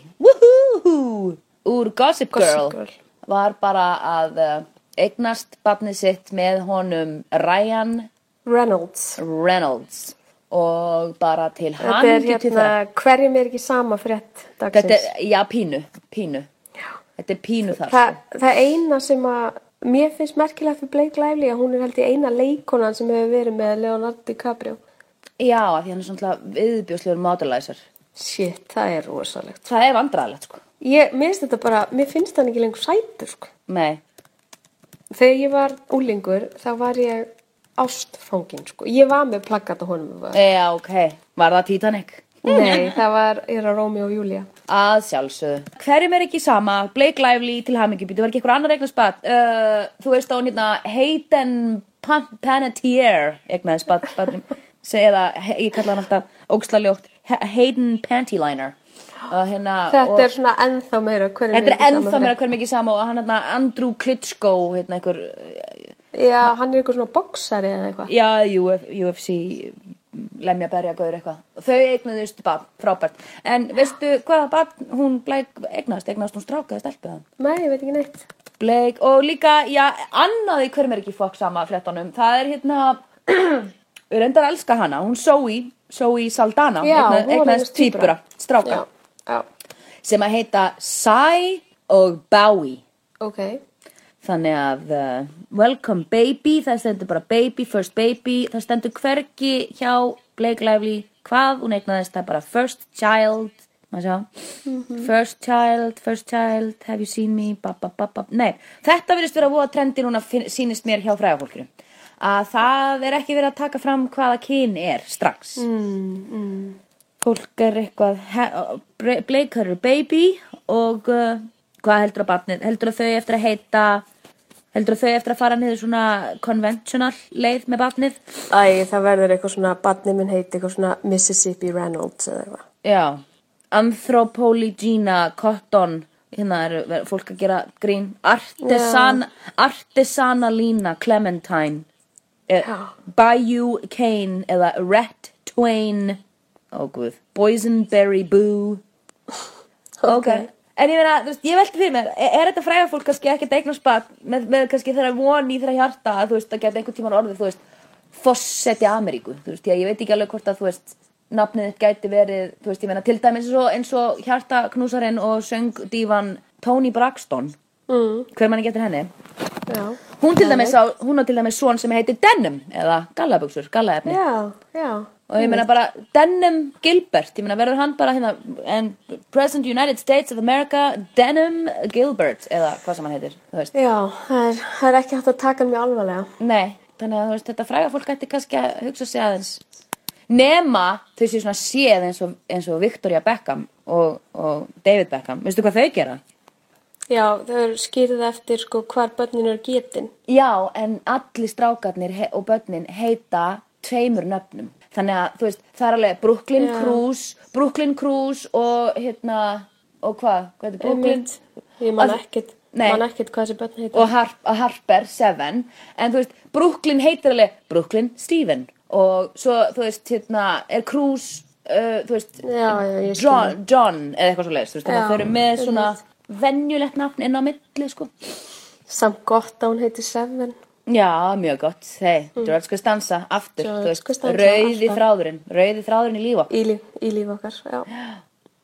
B: Woohoo Úr Gossip Girl,
C: Gossip Girl.
B: Var bara að uh, eignast barnið sitt með honum Ryan
C: Reynolds
B: Reynolds Og bara til hann
C: Þetta er hérna, hverjum er ekki sama frétt dagsins?
B: Þetta er, já, pínu, pínu Þetta er pínu þar sko.
C: Þa, það eina sem að mér finnst merkilegt fyrir Blake Lively að hún er held í eina leikonan sem hefur verið með Leonardo DiCaprio.
B: Já, af því hann er svona viðbjóðslegur modelæsar
C: Shit, það er rosalegt.
B: Það er vandræðalegt, sko
C: Ég, mér finnst þetta bara, mér finnst hann ekki lengur sætur, sko.
B: Nei,
C: Þegar ég var úlingur, þá var ég ástfangin, sko. Ég var með plakkat á honum. Var.
B: já, ok Var það Titanic?
C: Nei, það var, ég er að Rómi og Júlia.
B: Að sjálfsögðu. Hverjum er ekki sama? Blake Lively til hamingjubítu, var ekki eitthvað annar eignast bat? Uh, þú veist á hún hérna Hayden Pan Panettiere eignaðist bat, batum, eða he- ég kalla hann alltaf ógsla ljótt, He- Hayden Pantyliner. Uh, hérna,
C: Þetta
B: og-
C: er svona ennþá meira hverjum
B: Þetta er
C: ekki sama
B: ennþá meira
C: frétt.
B: hverjum ekki sama og hann hérna Andrew Klitschko, hérna einhver,
C: Já, hann er einhver svona boksari eða eitthvað.
B: já, Uf, UFC, lemja berja gaur eitthvað. Þau eignaðist bat, frábært. En veistu hvaða bat hún Blake eignaðist? Eignaðist hún strákaði stelpuðan?
C: Nei, ég veit ekki neitt.
B: Blake og líka, já, annaði hverjum er ekki fokk sama að fléttanum, það er hérna [clears throat] við reyndar að elska hana, hún Zoe, Zoe Saldana
C: Já,
B: eigna-
C: hún var
B: eignaðist
C: einhvers tvíbura.
B: tvíbura, stráka
C: Já, já,
B: sem að heita Sai og Bowie
C: ok.
B: þannig að uh, welcome baby, það stendur bara baby, first baby, það stendur hvergi hjá Blake Lively hvað hún eignaðist, það er bara first child maður sjá first child, first child, have you seen me ba, ba, ba, ba. nei, þetta virðist vera voða trendir núna finn- sýnist mér hjá fræðafólkinu að það er ekki verið að taka fram hvaða kyn er strax fólk er eitthvað he- Bre- Blake er baby og uh, hvað heldur að barnið heldur að þau eftir að heita heldur að þau eftir að fara niður svona conventional leið með barnið
C: Æ, það verður eitthvað svona, badni minn heiti eitthvað svona Mississippi Reynolds eða eitthvað.
B: já anthropologina, cotton hérna eru ver- fólk að gera grín artisan, artisanalina clementine eh,
C: Já.
B: bayou cane eða rat twain ó guð, boysenberry boo Ok, en ég meina, þú veist, ég velti fyrir mér, er, er þetta fræga fólk kannski ekkert eignarspat með, með kannski þeirra von í þeirra hjarta að þú veist, að geta einhvern tíman orðið, þú veist, fossetti Ameríku, þú veist, ég, ég veit ekki alveg hvort að þú veist, nafnið þitt gæti verið, þú veist, ég meina, til dæmis eins og, eins og hjartaknúsarinn og söngdífan Tony Braxton,
C: Mm,
B: hver manni getur henni?
C: já.
B: Hún til dæmis á, hún á til dæmis svon sem heitir Denim, eða gallabuxur, gallaefni.
C: Já, já.
B: og ég meina bara Denham Gilbert ég meina verður hann bara hérna and President United States of America Denham Gilbert eða hvað sem hann heitir þú veist
C: Já, það er, það er ekki hægt að taka hann mjög alvarlega.
B: nei þannig að þú veist þetta fræga fólk ætti kannski að hugsa sig aðeins nema þau séu svona séð eins og, eins og Victoria Beckham og, og David Beckham veistu hvað þau gera?
C: Já, þau eru skýrið eftir sko hvar börnin eru getin.
B: Já, en allir strákarnir he- og börnin heita tveimur nöfnum. Þannig að, þú veist, það er alveg Brooklyn
C: Já.
B: Cruise, Brooklyn Cruise og hérna, og hvað? Hvað heitir Brooklyn?
C: Einmitt. Ég man
B: Að-
C: ekkit,
B: Nei.
C: man ekkit hvað þessi börn heita.
B: Og Har Harper, Seven. En þú veist, Brooklyn heitir alveg Brooklyn Steven. Og svo, þú veist, hérna, er Cruise, uh, þú veist,
C: Já, já, ég skil.
B: John, John, eða eitthvað svo leiðist, þú veist, þannig
C: Já,
B: að þau eru með svona
C: einmitt.
B: venjulegt nafn inn á milli, sko.
C: Samt gott að hún heiti Seven.
B: Já, mjög gott, hei,
C: Mm.
B: George Costanza, aftur,
C: George
B: þú veist,
C: Costanza,
B: rauði
C: alltaf.
B: þráðurinn, rauði þráðurinn í lífa
C: Í, líf, í líf okkar, já.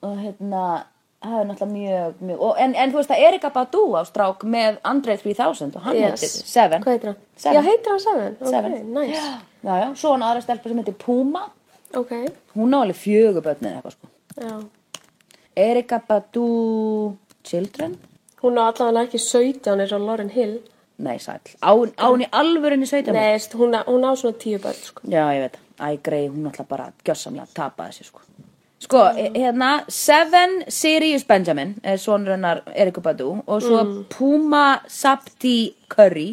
B: og hérna, það er náttúrulega mjög, mjög, og, en, en þú veist að Erika Badu á strák með Andre 3000 og hann heitir Seven.
C: Hvað heitir hann?
B: Seven.
C: Já, heitir hann Seven?
B: Seven.
C: Ok, næs. Nice.
B: Já, já, svo hann aðra stelpa sem heitir Puma,
C: Ok,
B: hún á alveg fjögur börn eða eitthvað sko.
C: já.
B: Erika Badu Children?
C: Hún á allavega ekki 17 eins og Lauren Hill.
B: Nei, sæl, á, á hún í alvörinni 17?
C: Nei, veist, hún, á- hún á svona 10 börn, sko.
B: Já, ég veit það. Æ, grei, hún ætla bara að gjössamlega að tapa þessi, sko. Sko, e- hérna, Seven Sirius Benjamin er sonur hennar Eriku Badu og svo Puma Sapti Curry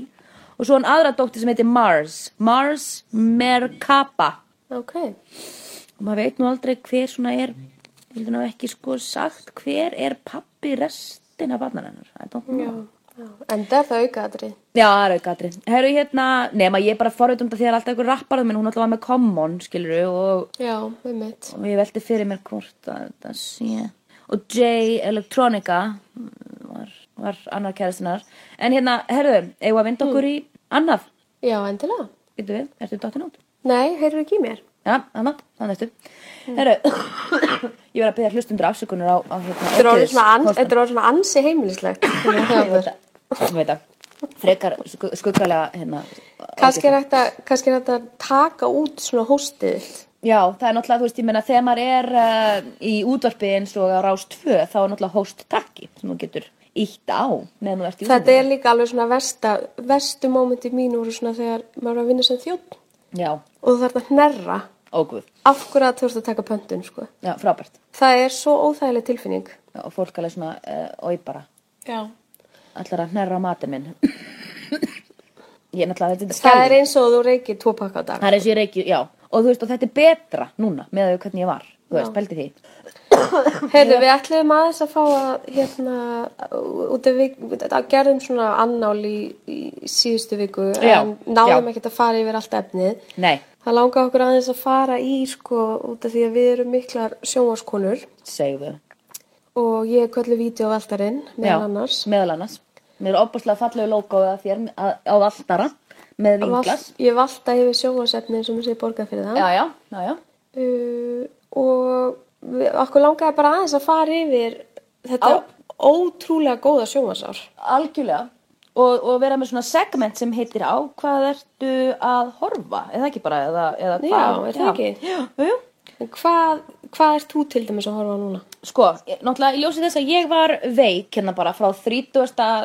B: og svo hann aðra dóttir sem heitir Mars. Mars Merkaba.
C: Ok,
B: Og maður veit nú aldrei hver svona er, ég veit nú ekki sko sagt, hver er pappi restin af barnar hennar. I don't know.
C: já. já. En það er það aukaðri.
B: Já, það er auka atrið. Herru, hérna, nema ég er bara forveit um þetta því að það er alltaf einhver rapparað minn, hún alltaf var með Common, skilur og
C: Já, við mitt.
B: og ég velti fyrir mér hvort að þetta sé og J Electronica mm, var, var annar kærastinar en hérna, herðu, eigum við að vinda okkur í annað,
C: Já, endilega.
B: getur við, ertu dottin út?
C: Nei, heyrðu ekki í mér.
B: Já, annað, þannig ertu
C: Mm.
B: herðu, [coughs] ég var að byrja hlustundur afsökunar á, á hérna
C: Þetta er orðið
B: ógeðis-
C: svona ans- þetta er orðið svona ansi [laughs] heimilislegt.
B: Ég veit það, ég veit það frekar sku- skuggalega hérna
C: Kannski er hægt að- kannski er hægt að taka út svona hóstið. þitt.
B: Já, það er náttúrulega, þú veist, ég meina þegar maður er uh, í útvarpi eins og á rás 2 þá er náttúrulega host takki sem þú getur ítt á meðan þú ert í
C: Þetta
B: útvarpi.
C: er líka alveg svona versta, verstu mómenti mín úr svona þegar maður er að vinna sem þjótt
B: Já,
C: og þú þarf að hnerra
B: óguð,
C: af hverju að þú ert að taka pöntun, sko.
B: já, frábært
C: Það er svo óþægileg tilfinning.
B: Já, og fólk alveg svona, uh, oi bara
C: Já.
B: ætlar að hnerra á matinn minn Ég er náttúrulega, þetta er
C: Það er
B: skelfing.
C: eins og þú reykir tvo pakka á dag.
B: Það er eins og ég reykju, [laughs] já og þú veist, og þetta er betra núna með þau hvernig ég var, þú veist, pældi því
C: Heyrðu, við ætlum aðeins að fá að, hérna, út af við, að gerðum svona annál í, í síðustu viku,
B: Já,
C: en náðum
B: já.
C: ekkert að fara yfir allt efnið.
B: Nei,
C: Það langaði okkur aðeins að fara í, sko, út af því að við erum miklar sjónvarskonur
B: segðu
C: og ég er köllu vídeoveltarinn, meðal annars.
B: meðal annars Mér er opaslega fallegu logoða þér að- á alltara með vinglas
C: Valt- Ég valta yfir sjónvarsefnið sem sé borgað fyrir það.
B: Já, já, já, já
C: Uh, og við, okkur langaði bara aðeins að fara yfir þetta
B: Á.
C: ótrúlega góða sjónvarsár.
B: Algjörlega og, og vera með svona segment sem heitir á hvað ertu að horfa eða ekki bara, eða, eða
C: Já,
B: hvað
C: er það ekki?
B: Já, jú, jú
C: En Hvað, hvað ert þú til dæmis að horfa á núna?
B: Sko, ég- náttúrulega í ljósi þess að ég var veik hérna bara frá 30.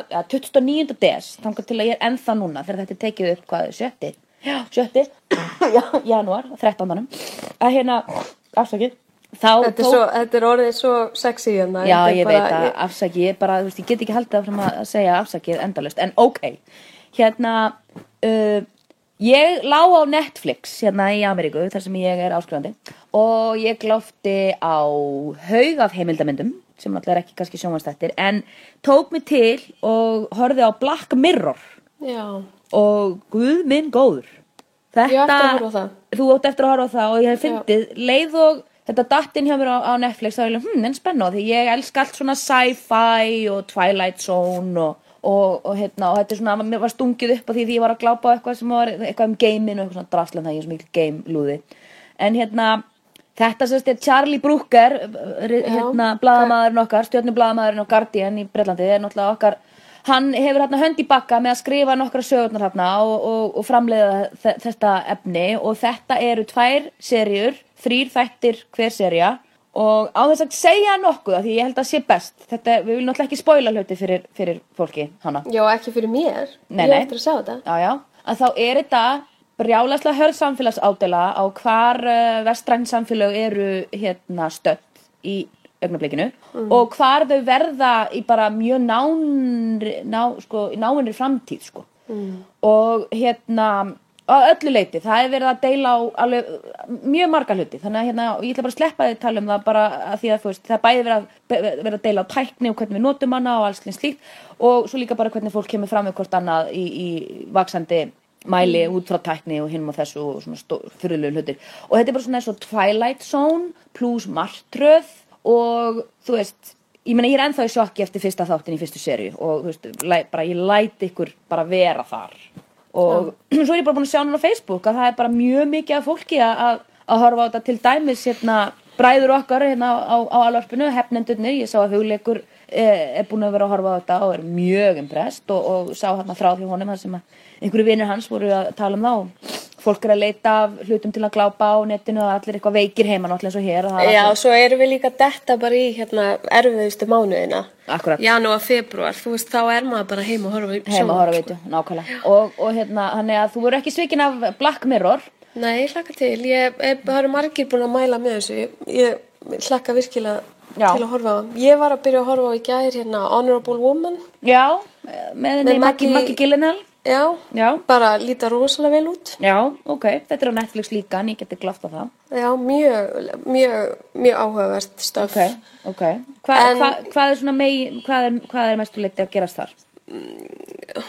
B: eða 29. des þangar til að ég er ennþá núna þegar þetta er tekið upp hvað er sjötti Já, sjötti, [coughs] já, janúar, 13. að hérna, afsakið Þá
C: Þetta er,
B: tók-
C: svo, þetta er orðið svo sexy hérna.
B: Já,
C: Þetta er
B: ég
C: bara-
B: veit að afsaki, ég bara, þú veist, ég get ekki haldið áfram að segja afsakið endalust, en ok, hérna, uh, ég lá á Netflix hérna í Ameríku, þar sem ég er áskrifandi, og ég glófti á haug af heimildamindum, sem náttúrulega er ekki kannski sjónvannstættir, en tók mig til og horfði á Black Mirror
C: Já,
B: og guð minn góður. Þetta,
C: Ég á eftir að horfa á það.
B: Þú átt eftir að horfa á það og ég hef fyndið leið og þetta dattinn hjá mér á, á Netflix þá er ég, hm, en spennu því ég elska allt svona sci-fi og Twilight Zone og, og, og hérna og þetta er svona, mér var stungið upp á því því ég var að glápa á eitthvað sem var eitthvað um gamein og eitthvað svona draslan það ég er svo mikil game lúði. En hérna, þetta sérst er Charlie Brooker, r-
C: Já.
B: hérna, blaðamaðurinn okkar, stjórnublaðamaðurinn og Guardian í Breitlandi er náttúrulega okkar hann hefur hérna hönd í bakka með að skrifa nokkra sögurnar hérna og, og, og framleiða þe- þetta efni og þetta eru tvær serjur, þrýr þættir hver serja og á þess að segja nokkuð af því ég held að sé best þetta, við viljum náttúrulega ekki spoila hluti fyrir, fyrir fólki hana
C: Já, ekki fyrir mér.
B: Nei,
C: ég á
B: nei.
C: eftir að sjá þetta.
B: já, já, að þá er þetta brjálaslega hörð samfélagsádela á hvar uh, vestræn samfélög eru hérna stött í augnablikinu og hvar þau verða í bara mjög nánri, ná, sko, í náinri framtíð sko. og hérna á öllu leiti, það er verið að deila á alveg, uh, mjög marga hluti þannig að hérna, og ég ætla bara að sleppa þið tala um það bara að því að þú veist, það er bæði verið að, be- verið að deila á tækni og hvernig við notum hana og alls slíkt slíkt og svo líka bara hvernig fólk kemur fram við hvort annað í, í vaksandi mæli út frá tækni og hinum og þessu og svona fyrirlegu hlutir og þetta er bara svona eins og Twilight Zone plus martröð og þú veist ég meina ég er ennþá í sjokki eftir fyrsta þáttin í fyrstu serju og þú veist, læ, bara ég læt ykkur bara vera þar og [clears throat] svo er ég bara búin að sjá hann á Facebook að það er bara mjög mikið af fólki að, að, að horfa á þetta til dæmis hérna bræður okkar hérna á, á alvarpinu hefnendurnir, ég sá að hugleikur eh, er búin að vera að horfa á þetta og er mjög impressed og, og sá hérna þráð hjá honum þar sem að einhverju vinir hans voru að tala um það og fólk er að leita af hlutum til að glápa á netinu og allir eitthvað veikir heima náttúrulega eins og hér og það er
C: Já, svo erum við líka detta bara í hérna erfiðustu mánuðina.
B: Akkúrat.
C: Janúar, februar, þú veist, þá er maður bara heima og horfa í sko.
B: heima að
C: sjónvarp,
B: horfa veitu, nákvæmlega og, og hérna, þannig að þú voru ekki svikin af Black Mirror
C: sko. Nei, ég hlakka til. Ég, ég, það eru margir búin að mæla með þessu. Ég- Ég hlakka virkilega
B: Já.
C: til að horfa á. Ég var að byrja að horfa á í gær hérna Honorable Woman.
B: já, með henni Maggie,
C: Maggie-
B: Maggie Gyllenhaal
C: Já,
B: Já.
C: bara líta rosalega vel út.
B: Já, ok, þetta er á Netflix líka en ég geti glafta það.
C: Já, mjög, mjög, mjög áhugavert stöf.
B: Ok, ok. Hva,
C: En-
B: hva, hvað er svona megi, hvað er, hvað er mestu leiti að gerast þar?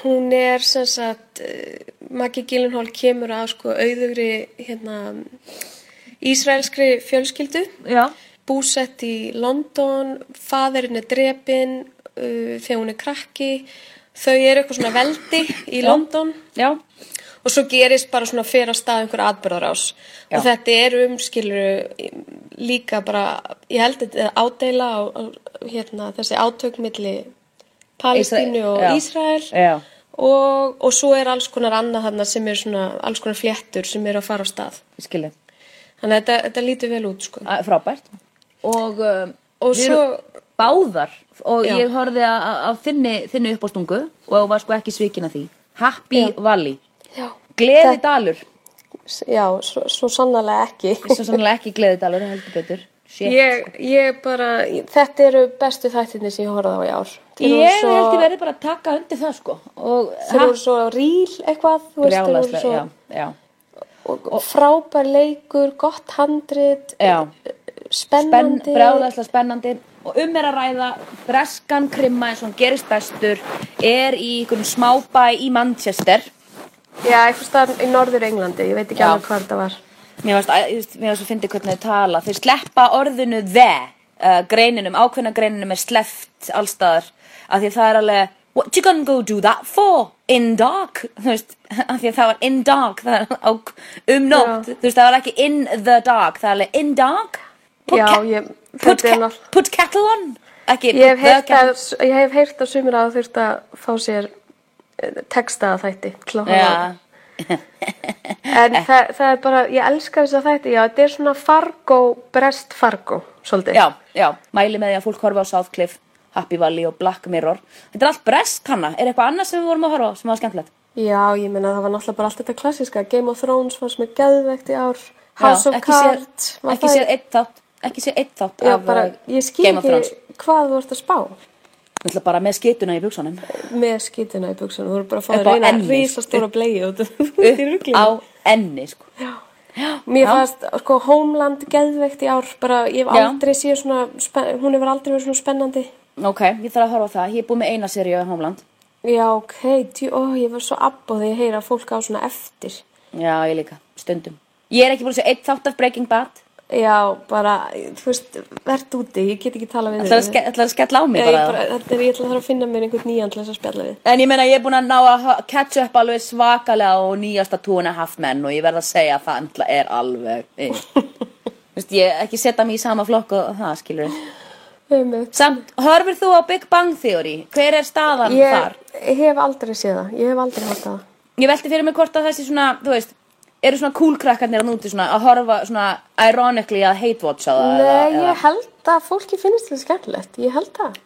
C: Hún er sem sagt, eh, Maggie Gyllenhaal kemur að sko auðugri hérna, ísraelskri fjölskyldu,
B: Já.
C: búsett í London, faðurinn er drepinn uh, þegar hún er krakki, þau eru eitthvað svona veldi í London
B: Já,
C: og svo gerist bara svona fyrir að stað einhver atbyrðarás
B: Já.
C: og þetta er umskilur líka bara, ég held þetta er ádeila á, á hérna, þessi átök milli Palestínu
B: Ísrael-
C: og
B: já.
C: Ísrael
B: Já.
C: og, og svo er alls konar annað þarna sem er svona alls konar fléttur sem eru að fara á stað
B: ég skilji.
C: þannig að þetta, þetta lítur vel út sko.
B: Að- Frábært. Og, um,
C: Og
B: við erum
C: svo-
B: Báðar. Og
C: Já.
B: ég horfði á- á á þinni, þinni uppástungu og var sko ekki svikin að því. Happy Valley.
C: já,
B: Gleði dalur.
C: já svo, svo sannlega ekki
B: Svo sannlega ekki gleði dalur, heldur betur. Shit.
C: ég, ég bara þetta eru bestu þættinni sem ég horfði á í ár Þeir eru
B: Ég
C: svo-
B: held ég verði bara að taka undir það sko. Og
C: þeir eru svo ríl eitthvað þú veist, þeir voru
B: brjálaslega,
C: svo-
B: já, já.
C: og, og frábær leikur, gott handrit
B: Já. spenn,
C: spennandi
B: brjálæðslega spennandi og um er að ræða breskan krimma eins og hann gerist bestur er í einhverjum smábæ í Manchester
C: já, eitthvað staðar í norður Englandi, ég veit ekki
B: Já.
C: alveg hvað þetta var
B: mér varst, æ- þú veist, mér varst að fyndi hvernig þau tala þeir sleppa orðinu the uh, greininum, ákveðna greininum er sleppt allstaðar, af því að það er alveg what you gonna go do that for in dark, [laughs] þú veist af því að það var in dark, það er á, um nótt, þú veist það var ekki in the dark það er alveg in dark put,
C: Já,
B: ke-
C: ég-
B: put,
C: þetta er
B: ke-
C: nátt-
B: put kettle on ekki put
C: ég hef
B: the
C: heyrt
B: kettle-
C: að, ég hef heyrt að sumir að þurft að fá sér eh, texta að þætti til að horfa á.
B: Já, Eh.
C: en það, það er bara, ég elska þess að þætti já, þetta er svona Fargo, Brest Fargo svolítið,
B: já, já, mæli með því að fólk horfa á South Cliff, Happy Valley og Black Mirror Þetta er allt brest hana, er eitthvað annað sem við vorum að horfa á sem var skemmtilegt?
C: já ég meina það var náttúrulega bara allt þetta klassiska, Game of Thrones fannst mér geðvegt í ár,
B: Já,
C: House of
B: ekki séð-
C: Cards var
B: Ekki
C: það-
B: séð eitt þátt, ekki séð eitt þátt
C: já,
B: af
C: bara,
B: uh,
C: ég skil
B: Game of Thrones
C: ekki hvað þú ert að spá
B: Ég ætla bara með skituna í buksunum
C: með skítina í buksunum, þú eru bara að fá
B: Upp
C: að
B: á
C: reyna
B: ennið.
C: risastóra blei út
B: [laughs]
C: út í
B: upp
C: ruglinu.
B: á enni sko.
C: Mér
B: Já.
C: fannst, sko, Homeland geðveikt í ár, bara, ég hef
B: Já.
C: aldrei síðan svona, spen- hún hefur aldrei verið svona spennandi.
B: Ok, ég þarf að horfa á það, ég er búin með eina seríu á Homeland
C: Já, ok, djú, ó, ég var svo abbóð þegar ég heyra að fólk á svona eftir.
B: Já, ég líka, stundum Ég er ekki búin að sjá eitt þátt af Breaking Bad
C: Já, bara, þú veist, verð úti, ég get ekki tala við
B: Það er að skella á
C: Já,
B: mig
C: ég
B: bara,
C: bara, þetta er, ég ætla að þarf að finna mér einhvern nýjan til þess að spjalla við.
B: En ég meina ég er búin að ná að ha- catch up alveg svakalega og nýjasta túna haft menn og ég verð að segja að það andla
C: [laughs]
B: er alveg Vist, ég ekki setja mig í sama flokk og það skilur
C: einmitt.
B: Samt, horfir þú á Big Bang Theory? Hver er staðan þar?
C: Ég hef aldrei séð það, ég hef aldrei hótt það.
B: Ég velti fyrir mig hvort að þessi svona, þú veist, eru svona cool krakkarnir að núti svona að horfa svona ironically að hate-watcha það?
C: Nei, ég held að fólki finnist þetta skemmtilegt, ég held það.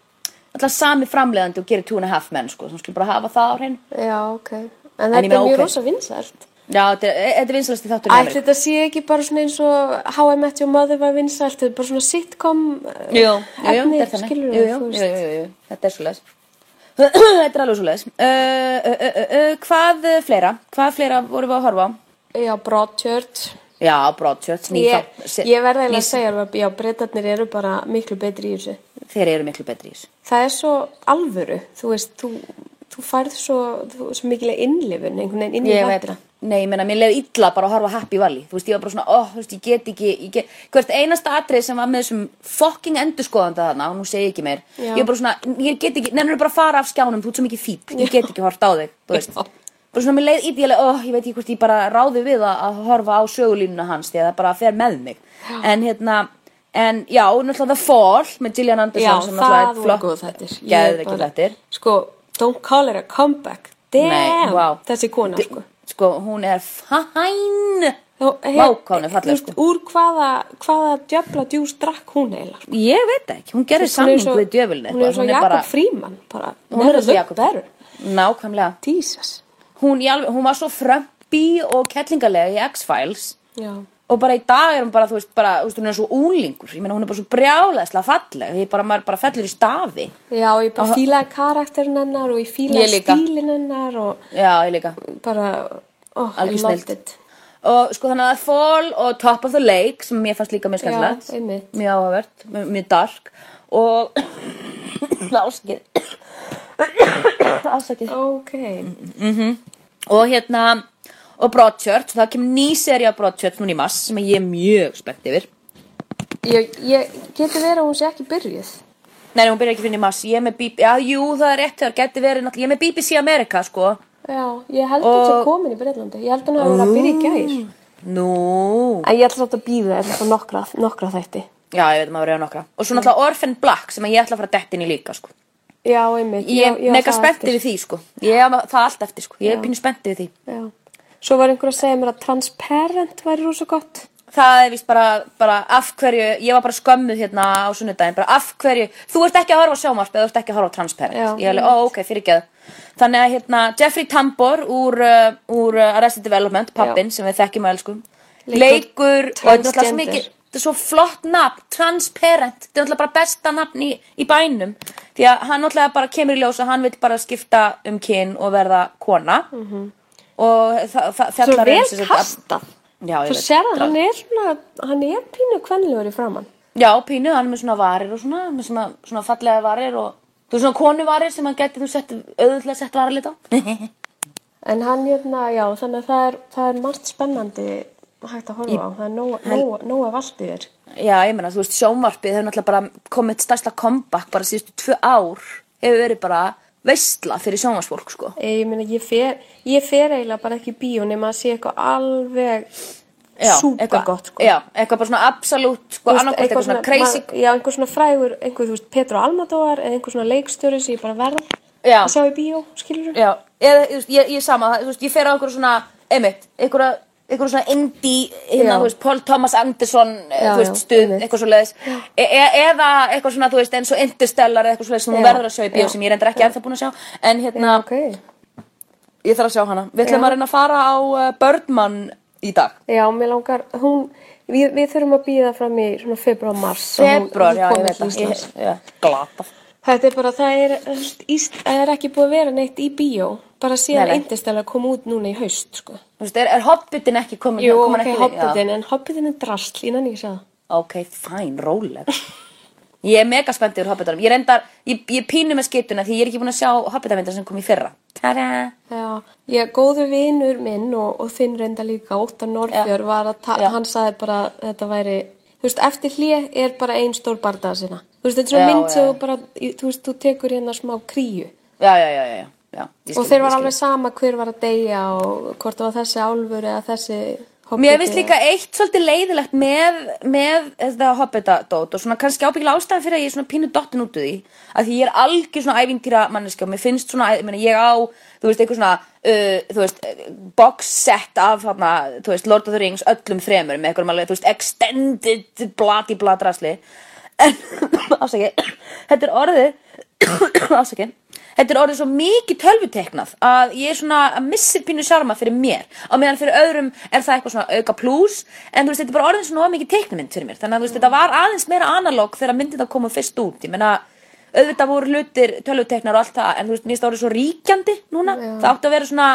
B: Alltaf sami framleiðandi og gerir two and a half menn, sko, sem skil bara hafa það á hrein.
C: Já, ok. En
B: En ég
C: þetta er
B: meina,
C: mjög
B: ok.
C: rosa vinsælt.
B: Já, þetta er, e, þetta er vinsalasti þáttur
C: Ætli þetta sé ekki bara svona eins og How I Met Your Mother var vinsælt, þetta er bara svona sitcom eh,
B: Jú, jú, jú,
C: efni,
B: þetta er þannig.
C: skilur
B: jú,
C: við,
B: jú,
C: þú
B: jú,
C: veist.
B: jú, jú, þetta er svoleiðis [clears throat] Þetta er alveg svoleiðis uh, uh, uh, uh, uh, Hvað uh, fleira? Hvað fleira vorum við að horfa á?
C: Já, Broadchurch.
B: Já, Broadchurch, nýþá
C: Ég, ég verði eiginlega að segja alveg, já, breytarnir eru bara miklu betri í þessu.
B: Þeir eru miklu betri í þessu
C: Það er svo alvöru, þú veist, þú, þú færð svo, þú, svo mikilega innlifun, einhvern veginn inn í
B: Ég veit
C: þetta.
B: það. Nei, ég meina, mér leið illa bara að horfa á Happy Valley. Þú veist, ég var bara svona, oh, þú veist, ég get ekki, ég get... Hvert einasta atrið sem var með þessum fucking endurskoðanda þarna, og nú segi ég ekki meir,
C: Já.
B: ég var bara svona, ég get ekki, nefnir bara að fara af skjánum, þú ert svo mikið fíp, ég get ekki hort á þig, þú veist. Bara svona, mér leið illa, ég leið, oh, ég veit ekki hvort ég bara ráði við að, að horfa á sögulínuna hans, því að það bara fer með mig. En hérna, en já, náttúrulega The Fall með Gillian
C: Já,
B: Anderson, sem náttúrulega
C: það
B: er
C: voru
B: flott.
C: góð þættir. Ég
B: Geðveikir
C: bara-
B: þættir.
C: Sko, don't call her a comeback.
B: Nei,
C: Damn,
B: vá.
C: þessi kona,
B: D-
C: sko.
B: Sko, hún er fæn.
C: Þá- hef-
B: Vá, hvað hún er falleg,
C: þú veist,
B: sko.
C: Úr hvaða, hvaða djöfla djús drakk hún eiginlega? sko?
B: Ég veit það ekki, hún gerir
C: Hún er
B: samning
C: svo-
B: við djöfulni
C: Hún er svo Jakob bara... Fríman, bara.
B: Hún er
C: never
B: svo
C: looked
B: Jakob-
C: better.
B: Nákvæmlega
C: Jesus.
B: hún, í alveg, hún var svo frömpi og kettlingalega í X-Files
C: Já.
B: og bara í dag er hún bara, þú veist, bara þú veist, hún er svo úlingur, ég meina hún er bara svo brjálæðslega falleg, því bara, maður bara fellur í stafi
C: Já, ég bara fílaði karakterin hennar og ég
B: Ég
C: fílaði
B: líka.
C: stílin hennar og
B: Já, ég líka
C: bara, oh, I
B: Algjör
C: loved
B: snilld.
C: it.
B: Og sko þannig að það er Fall og Top of the Lake sem mér fannst líka mjög skemmtilegt
C: Já, einmitt.
B: Mjög áhugavert, mjög- mjög dark og [coughs] ásakið [coughs] ásakið
C: Ok.
B: og hérna og Broadchurch, það kemur ný seri af Broadchurch núna í mass sem ég er mjög spennt yfir
C: Ég, ég geti verið að hún sé ekki byrjuð.
B: Nei, nei, hún byrjar ekki fyrir í mass, ég er með BBC Já, jú, það er rétt, það geti verið náttúrulega Ég er með BBC America, sko
C: Já, ég held
B: Og-
C: og... að sé komin í Breitlandi. Ég held að hún hafi verið að byrja í gær.
B: Nú
C: En ég ætla þátt að býða eftir þá nokkra, nokkra þætti.
B: Já, ég veit maður reyða nokkra Og svo náttúrulega Orphan Black sem að ég ætla að fara að detta inn í líka, sko
C: Já, einmitt.
B: Ég er
C: á
B: mega
C: það
B: spennt
C: eftir.
B: yfir því, sko Ég er það allt eftir, sko Ég er pínu spennt yfir því
C: Já. Svo var einhver að segja mér að transparent væri rosa gott.
B: Það er víst bara, bara af hverju, ég var bara skömmuð hérna á sunnudaginn, bara af hverju, þú ert ekki að horfa á sjómarp eða þú ert ekki að horfa á transparent.
C: Já,
B: ég alveg, ó, ok, fyrir Þannig að hérna, Jeffrey Tambor úr, uh, úr uh, Arrested Development, pappin, sem við þekkjum og elskum, leikur,
C: Leikur
B: og þetta er náttúrulega svo
C: transgender.
B: mikið, þetta er svo flott nafn, transparent, þetta er náttúrulega bara besta nafn í, í bænum. Því að hann náttúrulega bara kemur í ljós og hann vil bara skipta um kyn og verða kona. Og það, það, það
C: Mhm. Svo vel kastað.
B: Já, ég
C: Þú
B: veit.
C: sér að hann er svona, hann er pínu kvenlegur í framann.
B: Já, pínu, hann er með svona varir og svona, með svona, svona fallega varir og þú veist svona konuvarir sem hann geti þú sett, auðvitað sett varirlit [laughs] á.
C: En hann hérna, já, þannig að það er, það er margt spennandi hægt að horfa á. Það er nóga- nóga nóga vald yfir.
B: Já, ég meina, þú veist, sjónvarpið hefur náttúrulega bara komið stærsta comeback bara síðustu tvö ár hefur verið bara veistla fyrir sjónvarsfólk, sko.
C: Eh, Ég, ég meina, ég fer, ég fer eiginlega bara ekki í bíó nema að sé eitthvað alveg
B: Já,
C: súpa gott, sko.
B: Já, eitthvað bara svona absolutt, sko, annarkvæmt eitthvað svona crazy.
C: ma, já, einhver svona frægur, einhver, þú veist, Petru Almadóar eða einhver svona leikstjóri sem ég bara verð
B: Já.
C: að sjá í bíó, skilur
B: Já, eða, þú veist, ég, ég sama, það, þú veist, ég fer á einhverju svona, einmitt, einhverju, einhverju svona indie, hérna,
C: Já.
B: þú veist, Paul Thomas Anderson, eh,
C: Já,
B: þú veist,
C: já,
B: stuð,
C: einmitt.
B: eitthvað svo leiðis, e e eða eitthvað svona, þú veist, eins og Interstellar eða eitthvað svo leiðis sem hún
C: Já,
B: verður að sjá í bíó
C: já.
B: sem ég er endur ekki ennþá búin að sjá, en hérna,
C: ok.
B: ég þarf að sjá hana. Við ætlum
C: Já.
B: að reyna að fara á uh, Birdman í dag.
C: Já, mér langar, hún, við, við þurfum að býða fram í svona februar, mars. og hún-
B: Februar,
C: hún
B: já, ég
C: komi
B: veit
C: til
B: það,
C: Íslands.
B: ég, ég, glata.
C: Þetta er bara, það er, allt íst, það er ekki búið að vera neitt í bíó, bara
B: Nei,
C: síðan
B: nei.
C: Interstellar kom út núna í haust, sko.
B: Þú veist, er, er Hobbitin ekki komin?
C: Jú,
B: kom hann
C: ok,
B: ekki- já.
C: Hobbitin, en Hobbitin er drasl, ég nenni ekki að segja það.
B: Ok, fæn, róleg. Ég er mega spennt yfir Hobbitanum. Ég reyndar, ég, ég pínu með skituna því ég er ekki búin að sjá Hobbitamindar sem kom í fyrra. Tada!
C: Já, ég, góðu vinur minn og, og þinn reynda líka, Óttar Norðbjörn, var að, ta-
B: Já.
C: hann sagði bara, að þetta væri, þú veist, eftir hlið er bara ein stór bardaða sinna. Þú veist, þetta er
B: Já,
C: svona mynd sem
B: já.
C: þú bara, í- þú veist, þú tekur hérna smá kríu.
B: Já, já, já, já, já. já ég skil,
C: og þeir
B: ég
C: var
B: skil.
C: alveg sama hver var að deyja og hvort það var þessi álfur eða þessi
B: Mér finnst líka eitt svolítið leiðilegt með, með þetta hobbitadót og svona kannski ábyggilega ástæðan fyrir að ég er svona pínu dottin út úr því að því ég er algjör svona ævintýra manneska og mér finnst svona, ég, meina, ég á þú veist, eitthvað svona uh, þú veist, eh, box set af hana, þú veist, Lord of the Rings öllum þremur með eitthvað alveg, þú veist, extended bladi bladrasli en [coughs] ásaki, [coughs] þetta er [coughs] orðið ásaki Þetta er orðið svo mikið tölvuteknað að ég er svona að missi pínu sjárma fyrir mér á meðan fyrir öðrum er það eitthvað svona auka plus en þú veist, þetta er bara orðið svona of mikið teiknumynd fyrir mér þannig að þú veist, þetta var aðeins meira analóg þegar myndin það komu fyrst út ég meina, auðvitað voru hlutir tölvuteknar og allt það en þú veist, mér finnst það orðið svo ríkjandi núna það átti að vera svona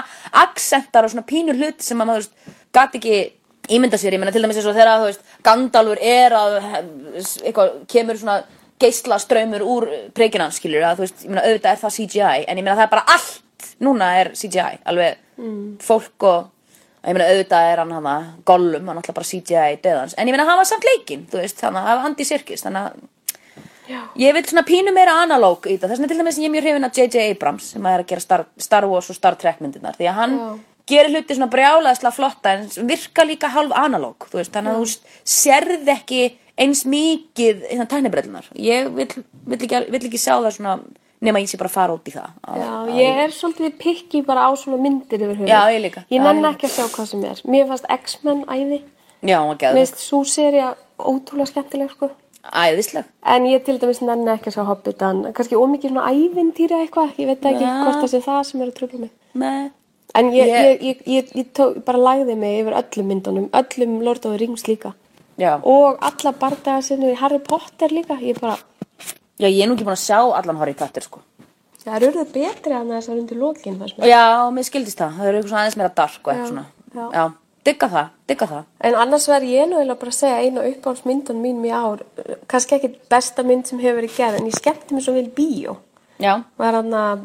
B: accentar og svona pínu hluti sem að maður, þú veist, gat ekki ímynda sér, ég meina til dæmis eins og þegar þú veist, Gandalfur er að eitthvað, kemur svona geisla ströymur úr preikinans skilur að þú veist, ég meina auðvitað er það CGI en ég meina það er bara allt, núna er CGI alveg fólk og og ég meina auðvitað er hann hana Gollum, hann alltaf bara CGI döðans en ég meina hann var samt leikinn, þú veist, þannig að það var Andy Serkis þannig að Ég vil svona pínu meira analóg í þetta. Þess vegna til dæmis sem ég er mjög hrifin af J.J. Abrams sem að er að gera Star, Star Wars og Star Trek myndirnar. Því að hann gerir hluti svona brjálaðislega flotta en virka líka hálf analóg. Þú veist, þannig að þú sérð ekki eins mikið í það tæknibrellunar. Ég vil, vil, ekki, vil ekki sjá það svona nema ég sé bara að fara út í það. Að-
C: Já, ég er svolítið pikki bara á svona myndir yfir höfuð.
B: Já, ég líka.
C: Ég
B: Já,
C: nenni
B: ég-
C: ekki að sjá hvað sem er. Mér fannst X-Men æði.
B: Já, hann
C: Mér
B: getur.
C: finnst svo serja ótrúlega skemmtileg, sko.
B: Æðisleg.
C: En ég til dæmis nenni ekki að sjá Hobbitan. Kannski ómikið svona ævintýra eitthvað. Ég veit ekki
B: Já.
C: hvort það sé það sem er að tröfla mig.
B: Nei.
C: En ég,
B: Ég-
C: ég, ég, ég, ég tók, bara lagði mig yfir öllum myndunum, öllum Lord of the Rings líka.
B: Já.
C: Og alla bardaga sinni í Harry Potter líka. Ég bara,
B: Já, ég er nú ekki búin að sjá allan horrið kvættir, sko.
C: það eru það betri að þessar undir lókin, fannst mér.
B: Já, mér skildist það. Það eru eitthvað svona aðeins meira dark og eitthvað
C: Já,
B: svona.
C: já.
B: Já, digga það, digga það.
C: En annars verð ég nú eiginlega bara að segja einu uppáhaldsmyndan mín í ár, kannski ekki besta mynd sem hefur verið gerð, en ég skemmti mér svo vel bíó.
B: Já,
C: Var hann að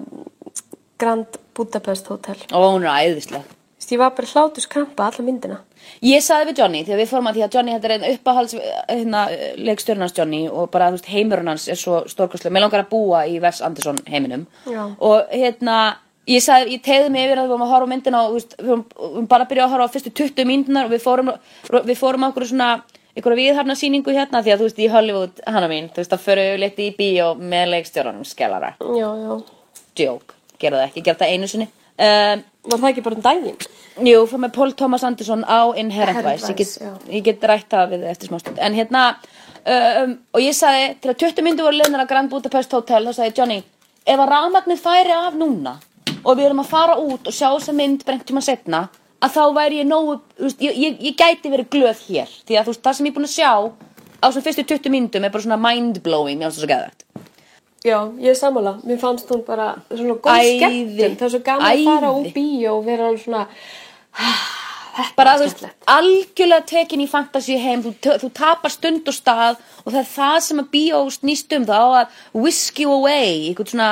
C: Grand Budapest Hotel.
B: og hún er æðisleg.
C: Vist, ég var bara hlátus krampa alla myndina.
B: Ég saði við Johnny, þegar við fórum að því að Johnny, þetta er einn uppáhalds hérna, leikstjörn hans Johnny og bara þú veist, heimurinn hans er svo stórkostlega. Mér langar að búa í Wes Anderson heiminum.
C: Já.
B: Og hérna, ég sagði, ég tegði mig yfir að við vorum að horfa á myndina og þú veist, við vorum, við vorum bara að byrja að horfa á fyrstu 20 myndunar og við fórum, við fórum okkur svona einhverja viðharna sýningu hérna því að þú veist, í Hollywood, hana mín, þú veist, það fyrir yfirleitt í bíó með leikstjörnum, skellara.
C: Já, já.
B: Joke, gera það ekki, gera það einu sinni. Um,
C: Var það ekki bara um daginn?
B: Jú, fyrir með Paul Thomas Anderson á Inherent
C: Inherent
B: Vice, ég
C: Vice, já.
B: get, ég get rætt það við þig eftir smá stund, en hérna um, og ég sagði, til að 20 myndu voru leiðnar að Grand Budapest Hotel, þá sagði ég, Johnny ef að rafmagnið færi af núna og við erum að fara út og sjá þessa mynd brengt tíma setna, að þá væri ég nógu, þú veist, ég, ég, ég gæti verið glöð hér, því að þú veist, það sem ég er búin að sjá á svona fyrstu 20 myndum er bara svona mindblowing, mér finnst það svo geðvægt
C: Já, ég er sammála. Mér fannst hún bara svona góð
B: Æði.
C: skemmtum. Það er svo gaman
B: Æði.
C: að fara úr bíó og vera alveg svona [sighs]
B: bara þú veist, algjörlega tekin í fantasy heim, þú, tö- þú tapar stund og stað og það er það sem að bíó snýst um þá að whisk you away í einhvern svona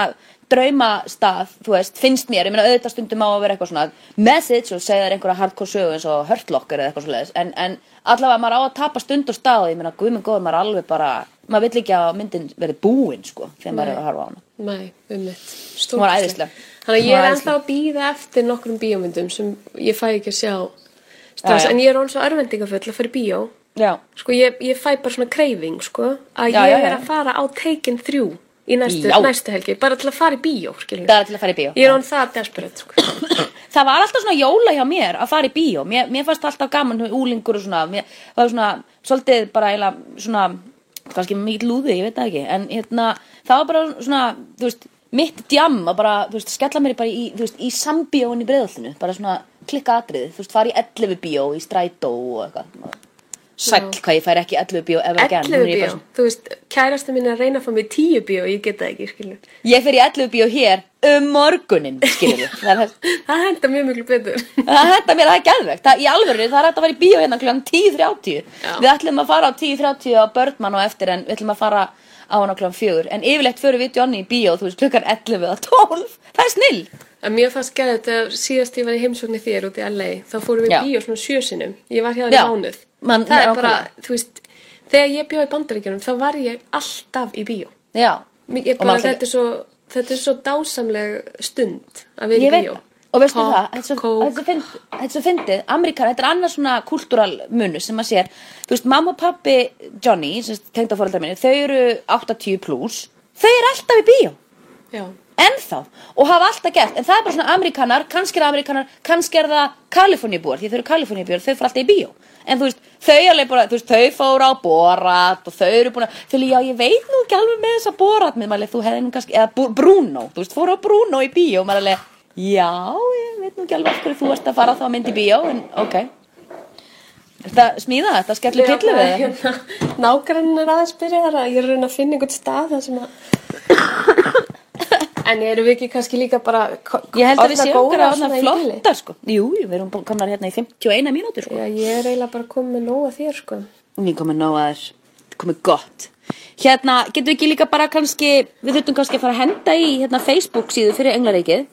B: draumastað, þú veist, finnst mér, ég meina auðvitað stundum á að vera eitthvað svona message og segja þér einhverja hardcore sögu eins og hörtlokkar eða eitthvað svo en, en allavega maður á að tapa stund og stað og ég meina guð minn góður maður alveg bara, maður vill ekki að myndin verði búin sko, þegar maður er að horfa á hana.
C: Nei, um mitt.
B: Hún var æðisleg.
C: Þannig að
B: Hún
C: ég
B: var
C: er
B: æðisleg.
C: ennþá að býða eftir nokkrum bíómyndum sem ég fæ ekki að sjá
B: Já,
C: strax.
B: já.
C: En ég er alveg svo örvendingafull að fara í bíó.
B: Já,
C: Sko, ég, ég fæ bara svona kreifing, sko, að
B: Já,
C: ég
B: já, já.
C: er að fara á Taken 3 í næstu,
B: Já.
C: næstu helgi. Bara til að fara í bíó, skiljum.
B: það er til að fara í bíó.
C: Ég er alveg það desperate, sko.
B: [coughs] það var alltaf svona jóla hjá mér að fara í bíó mér, mér fannst alltaf gaman úlingur og svona mér, það var svona, svolítið bara eila, svona, kannski mikið lúði ég veit það ekki, en hérna það var bara svona, þú veist, mitt djam að bara, þú veist, skella mér bara í, þú veist, í sambíóin í breiðallinu, bara svona klikka atrið, þú veist, fara í 11 bíó í strætó og eitthvað sæll hvað ég fær ekki í 11 bíó ever again
C: 11
B: Nú er ég bara
C: bíó.
B: svona-
C: Þú veist, kærasti mín er að reyna að fá mig í 10 bíó, ég get það ekki, skiljum.
B: ég fer í 11 bíó hér um morgunin skilur við
C: Það henda mjög miklu betur.
B: Það henda mér það er geðvegt, það, í alvöru, það er hægt að fara í bíó hérna klukkan 10.30
C: Já.
B: Við ætlum að fara á 10.30 á Birdman og eftir en við ætlum að fara á hann á klukkan 4 En yfirleitt förum við Johnny í bíó, þú veist, klukkan 11 eða 12 Það er snill
C: En mér fannst gæði þetta síðast ég var í heimsóknir þér út í LA, þá fórum við
B: Já.
C: í bíó svona sjösinum. Ég var hérna í
B: Já.
C: mánuð.
B: Man-
C: það er
B: nákvæmlega.
C: bara, þú veist, þegar ég bjó í bandaríkjunum, þá var ég alltaf í bíó.
B: Já
C: Mér- Ég
B: Og
C: bara,
B: maður-
C: þetta er svo, þetta er svo dásamleg stund að vera
B: Ég
C: í
B: veit
C: bíó.
B: það. Og veistu
C: Coke,
B: það, þetta er svo-
C: Coke.
B: þetta er svo fynd- þetta er svo fyndið, Ameríkar, þetta er annars svona kultúral munur sem maður sér. Þú veist, mamma og pappi Johnny, sem tengda fóröldar minni, þau eru 80 pluss, þau eru alltaf í bíó,
C: Já.
B: ennþá, og hafa alltaf gert. En það er bara svona Ameríkanar, kannski er það Ameríkanar, kannski er það Kaliforníubúar, því þau eru Kaliforníubúar, þau fara alltaf í bíó. En þú veist, þau alveg bara, þú veist, þau fóra á borat og þau eru búin að, þau eru, já, ég veit nú ekki alveg með þessa borat, með maður alveg, þú hefði nú kannski, eða Br- Bruno, þú veist, fóra á Bruno í bíó, maður alveg, já, ég veit nú ekki alveg af hverju þú ert að fara þá að myndi bíó, en ok. Þetta smíða, þetta skellir pillu við
C: hérna
B: það.
C: Nágrann er aðeins byrjar að ég er að reyna að finna einhvern stað
B: [coughs]
C: þar sem að En erum við ekki kannski líka bara
B: Ég held að við
C: orðnar
B: séum okkar
C: góðar
B: að
C: svona í bili?
B: flottar, sko. Jú, jú, við erum bú- komnar hérna í 51 mínútur, sko.
C: Já, ég er eiginlega bara komið með nóga þér sko
B: Við komum nóg að þér, þetta komið gott. Hérna, getum við ekki líka bara kannski, við þurfum kannski að fara að henda í hérna, Facebook síðu fyrir Englaríkið.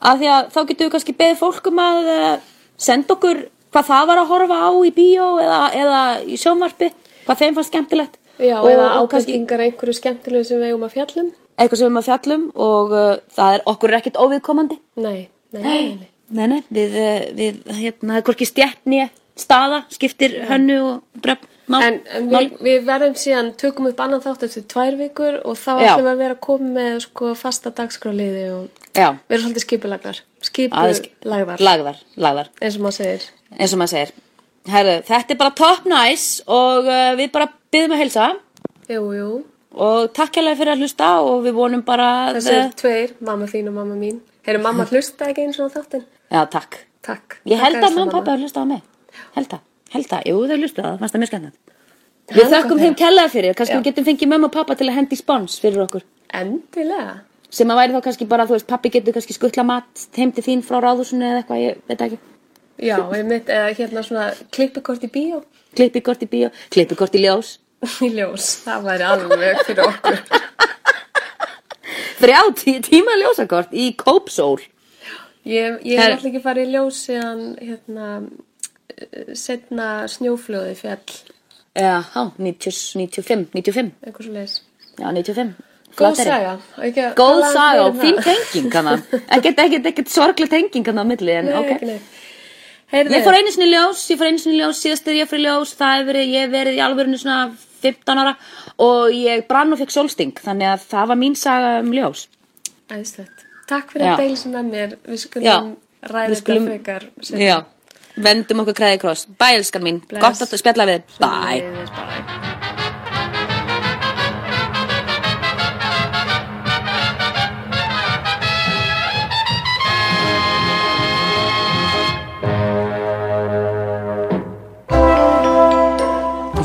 B: Af því að þá getum við kannski beðið fólkum að uh, senda okkur hvað það var að horfa á í bíó eða, eða í sjónvarpi, hvað þeim fannst skemmtilegt.
C: Já,
B: og,
C: eða
B: og kannski
C: ábendingar einhverju skemmtilegu sem við eigum að um? fjallum
B: eitthvað sem við maður fjallum og uh, það er okkur er ekkert óviðkomandi.
C: Nei, nei,
B: [gasps]
C: nei, nei.
B: Nei, nei, við, uh, við hérna, það er hvorki stjættni, staða, skiptir hönnu og dröfn.
C: En, en við, við verðum síðan, tökum upp annan þátt eftir tvær vikur og þá
B: Já.
C: ætlum við að vera að koma með sko fasta dagskráliði og
B: Já,
C: vera svolítið skipulaglar.
B: aðeins-
C: Skipulaglar,
B: Lagðar, lagðar.
C: eins og maður segir.
B: eins og maður segir Herðu, þetta er bara top nice og uh, við bara byggum að heilsa
C: Jú, jú.
B: og takk hérlega fyrir að hlusta og við vonum bara að, uh,
C: Þessi eru tveir, mamma þín og mamma mín. Heyru, mamma hlusta ekki eins og á þáttinn.
B: Já, takk
C: Takk.
B: Ég held
C: Takk,
B: að mamma og
C: æðislega,
B: pappa hafa hlustað á mig Held að, held að, jú þau hlustaði á það, fannst það mjög skemmtilegt Við þökkum þeim kærlega fyrir, kannski við getum fengið mamma og pappa til að hendi spons fyrir okkur
C: Endilega.
B: sem að væri þá kannski bara, þú veist, pappi getur kannski skuttla mat heim til þín frá ráðhúsinu eða eitthvað, ég veit það ekki
C: Já, ég mitt, eða hérna svona klippikort í bíó. [laughs]
B: Klippi kort í bíó, klippi kort í ljós
C: Í ljós, það væri alveg fyrir okkur.
B: 30 tíma ljósakort í kópsól
C: Ég, ég
B: Herru.
C: er alltaf ekki farið í ljós síðan hérna, setna snjóflóði fjall,
B: Já, 90, 95, 95
C: eitthvað svo leiðis.
B: Já, 95
C: Góð
B: Flateyri.
C: saga. á ekki að
B: Góð
C: tala
B: saga
C: meira
B: og
C: um
B: fín
C: það? [laughs]
B: tenging hana Ekkert, ekkert, ekkert sorgleg tenging hana á milli en,
C: Nei,
B: ok.
C: ekki neitt. Heyrðu,
B: Ég fór einu sinni í ljós, ég fór einu sinni í ljós Síðast er ég fyrir ljós, það hefur verið, ég hef verið í alvörinu svona 15 ára Og ég brann og fekk sólsting Þannig að það var mín saga um ljós
C: Æðislegt. Takk fyrir
B: Já.
C: að deilsa með mér. Við
B: Já.
C: skulum ræða
B: Við
C: þetta
B: skulum-
C: frekar.
B: Já Vendum okkur kræði kross Bæ, elskan mín,
C: Bless.
B: gott að spjalla við þér. Bæ
C: Bye.
A: Þú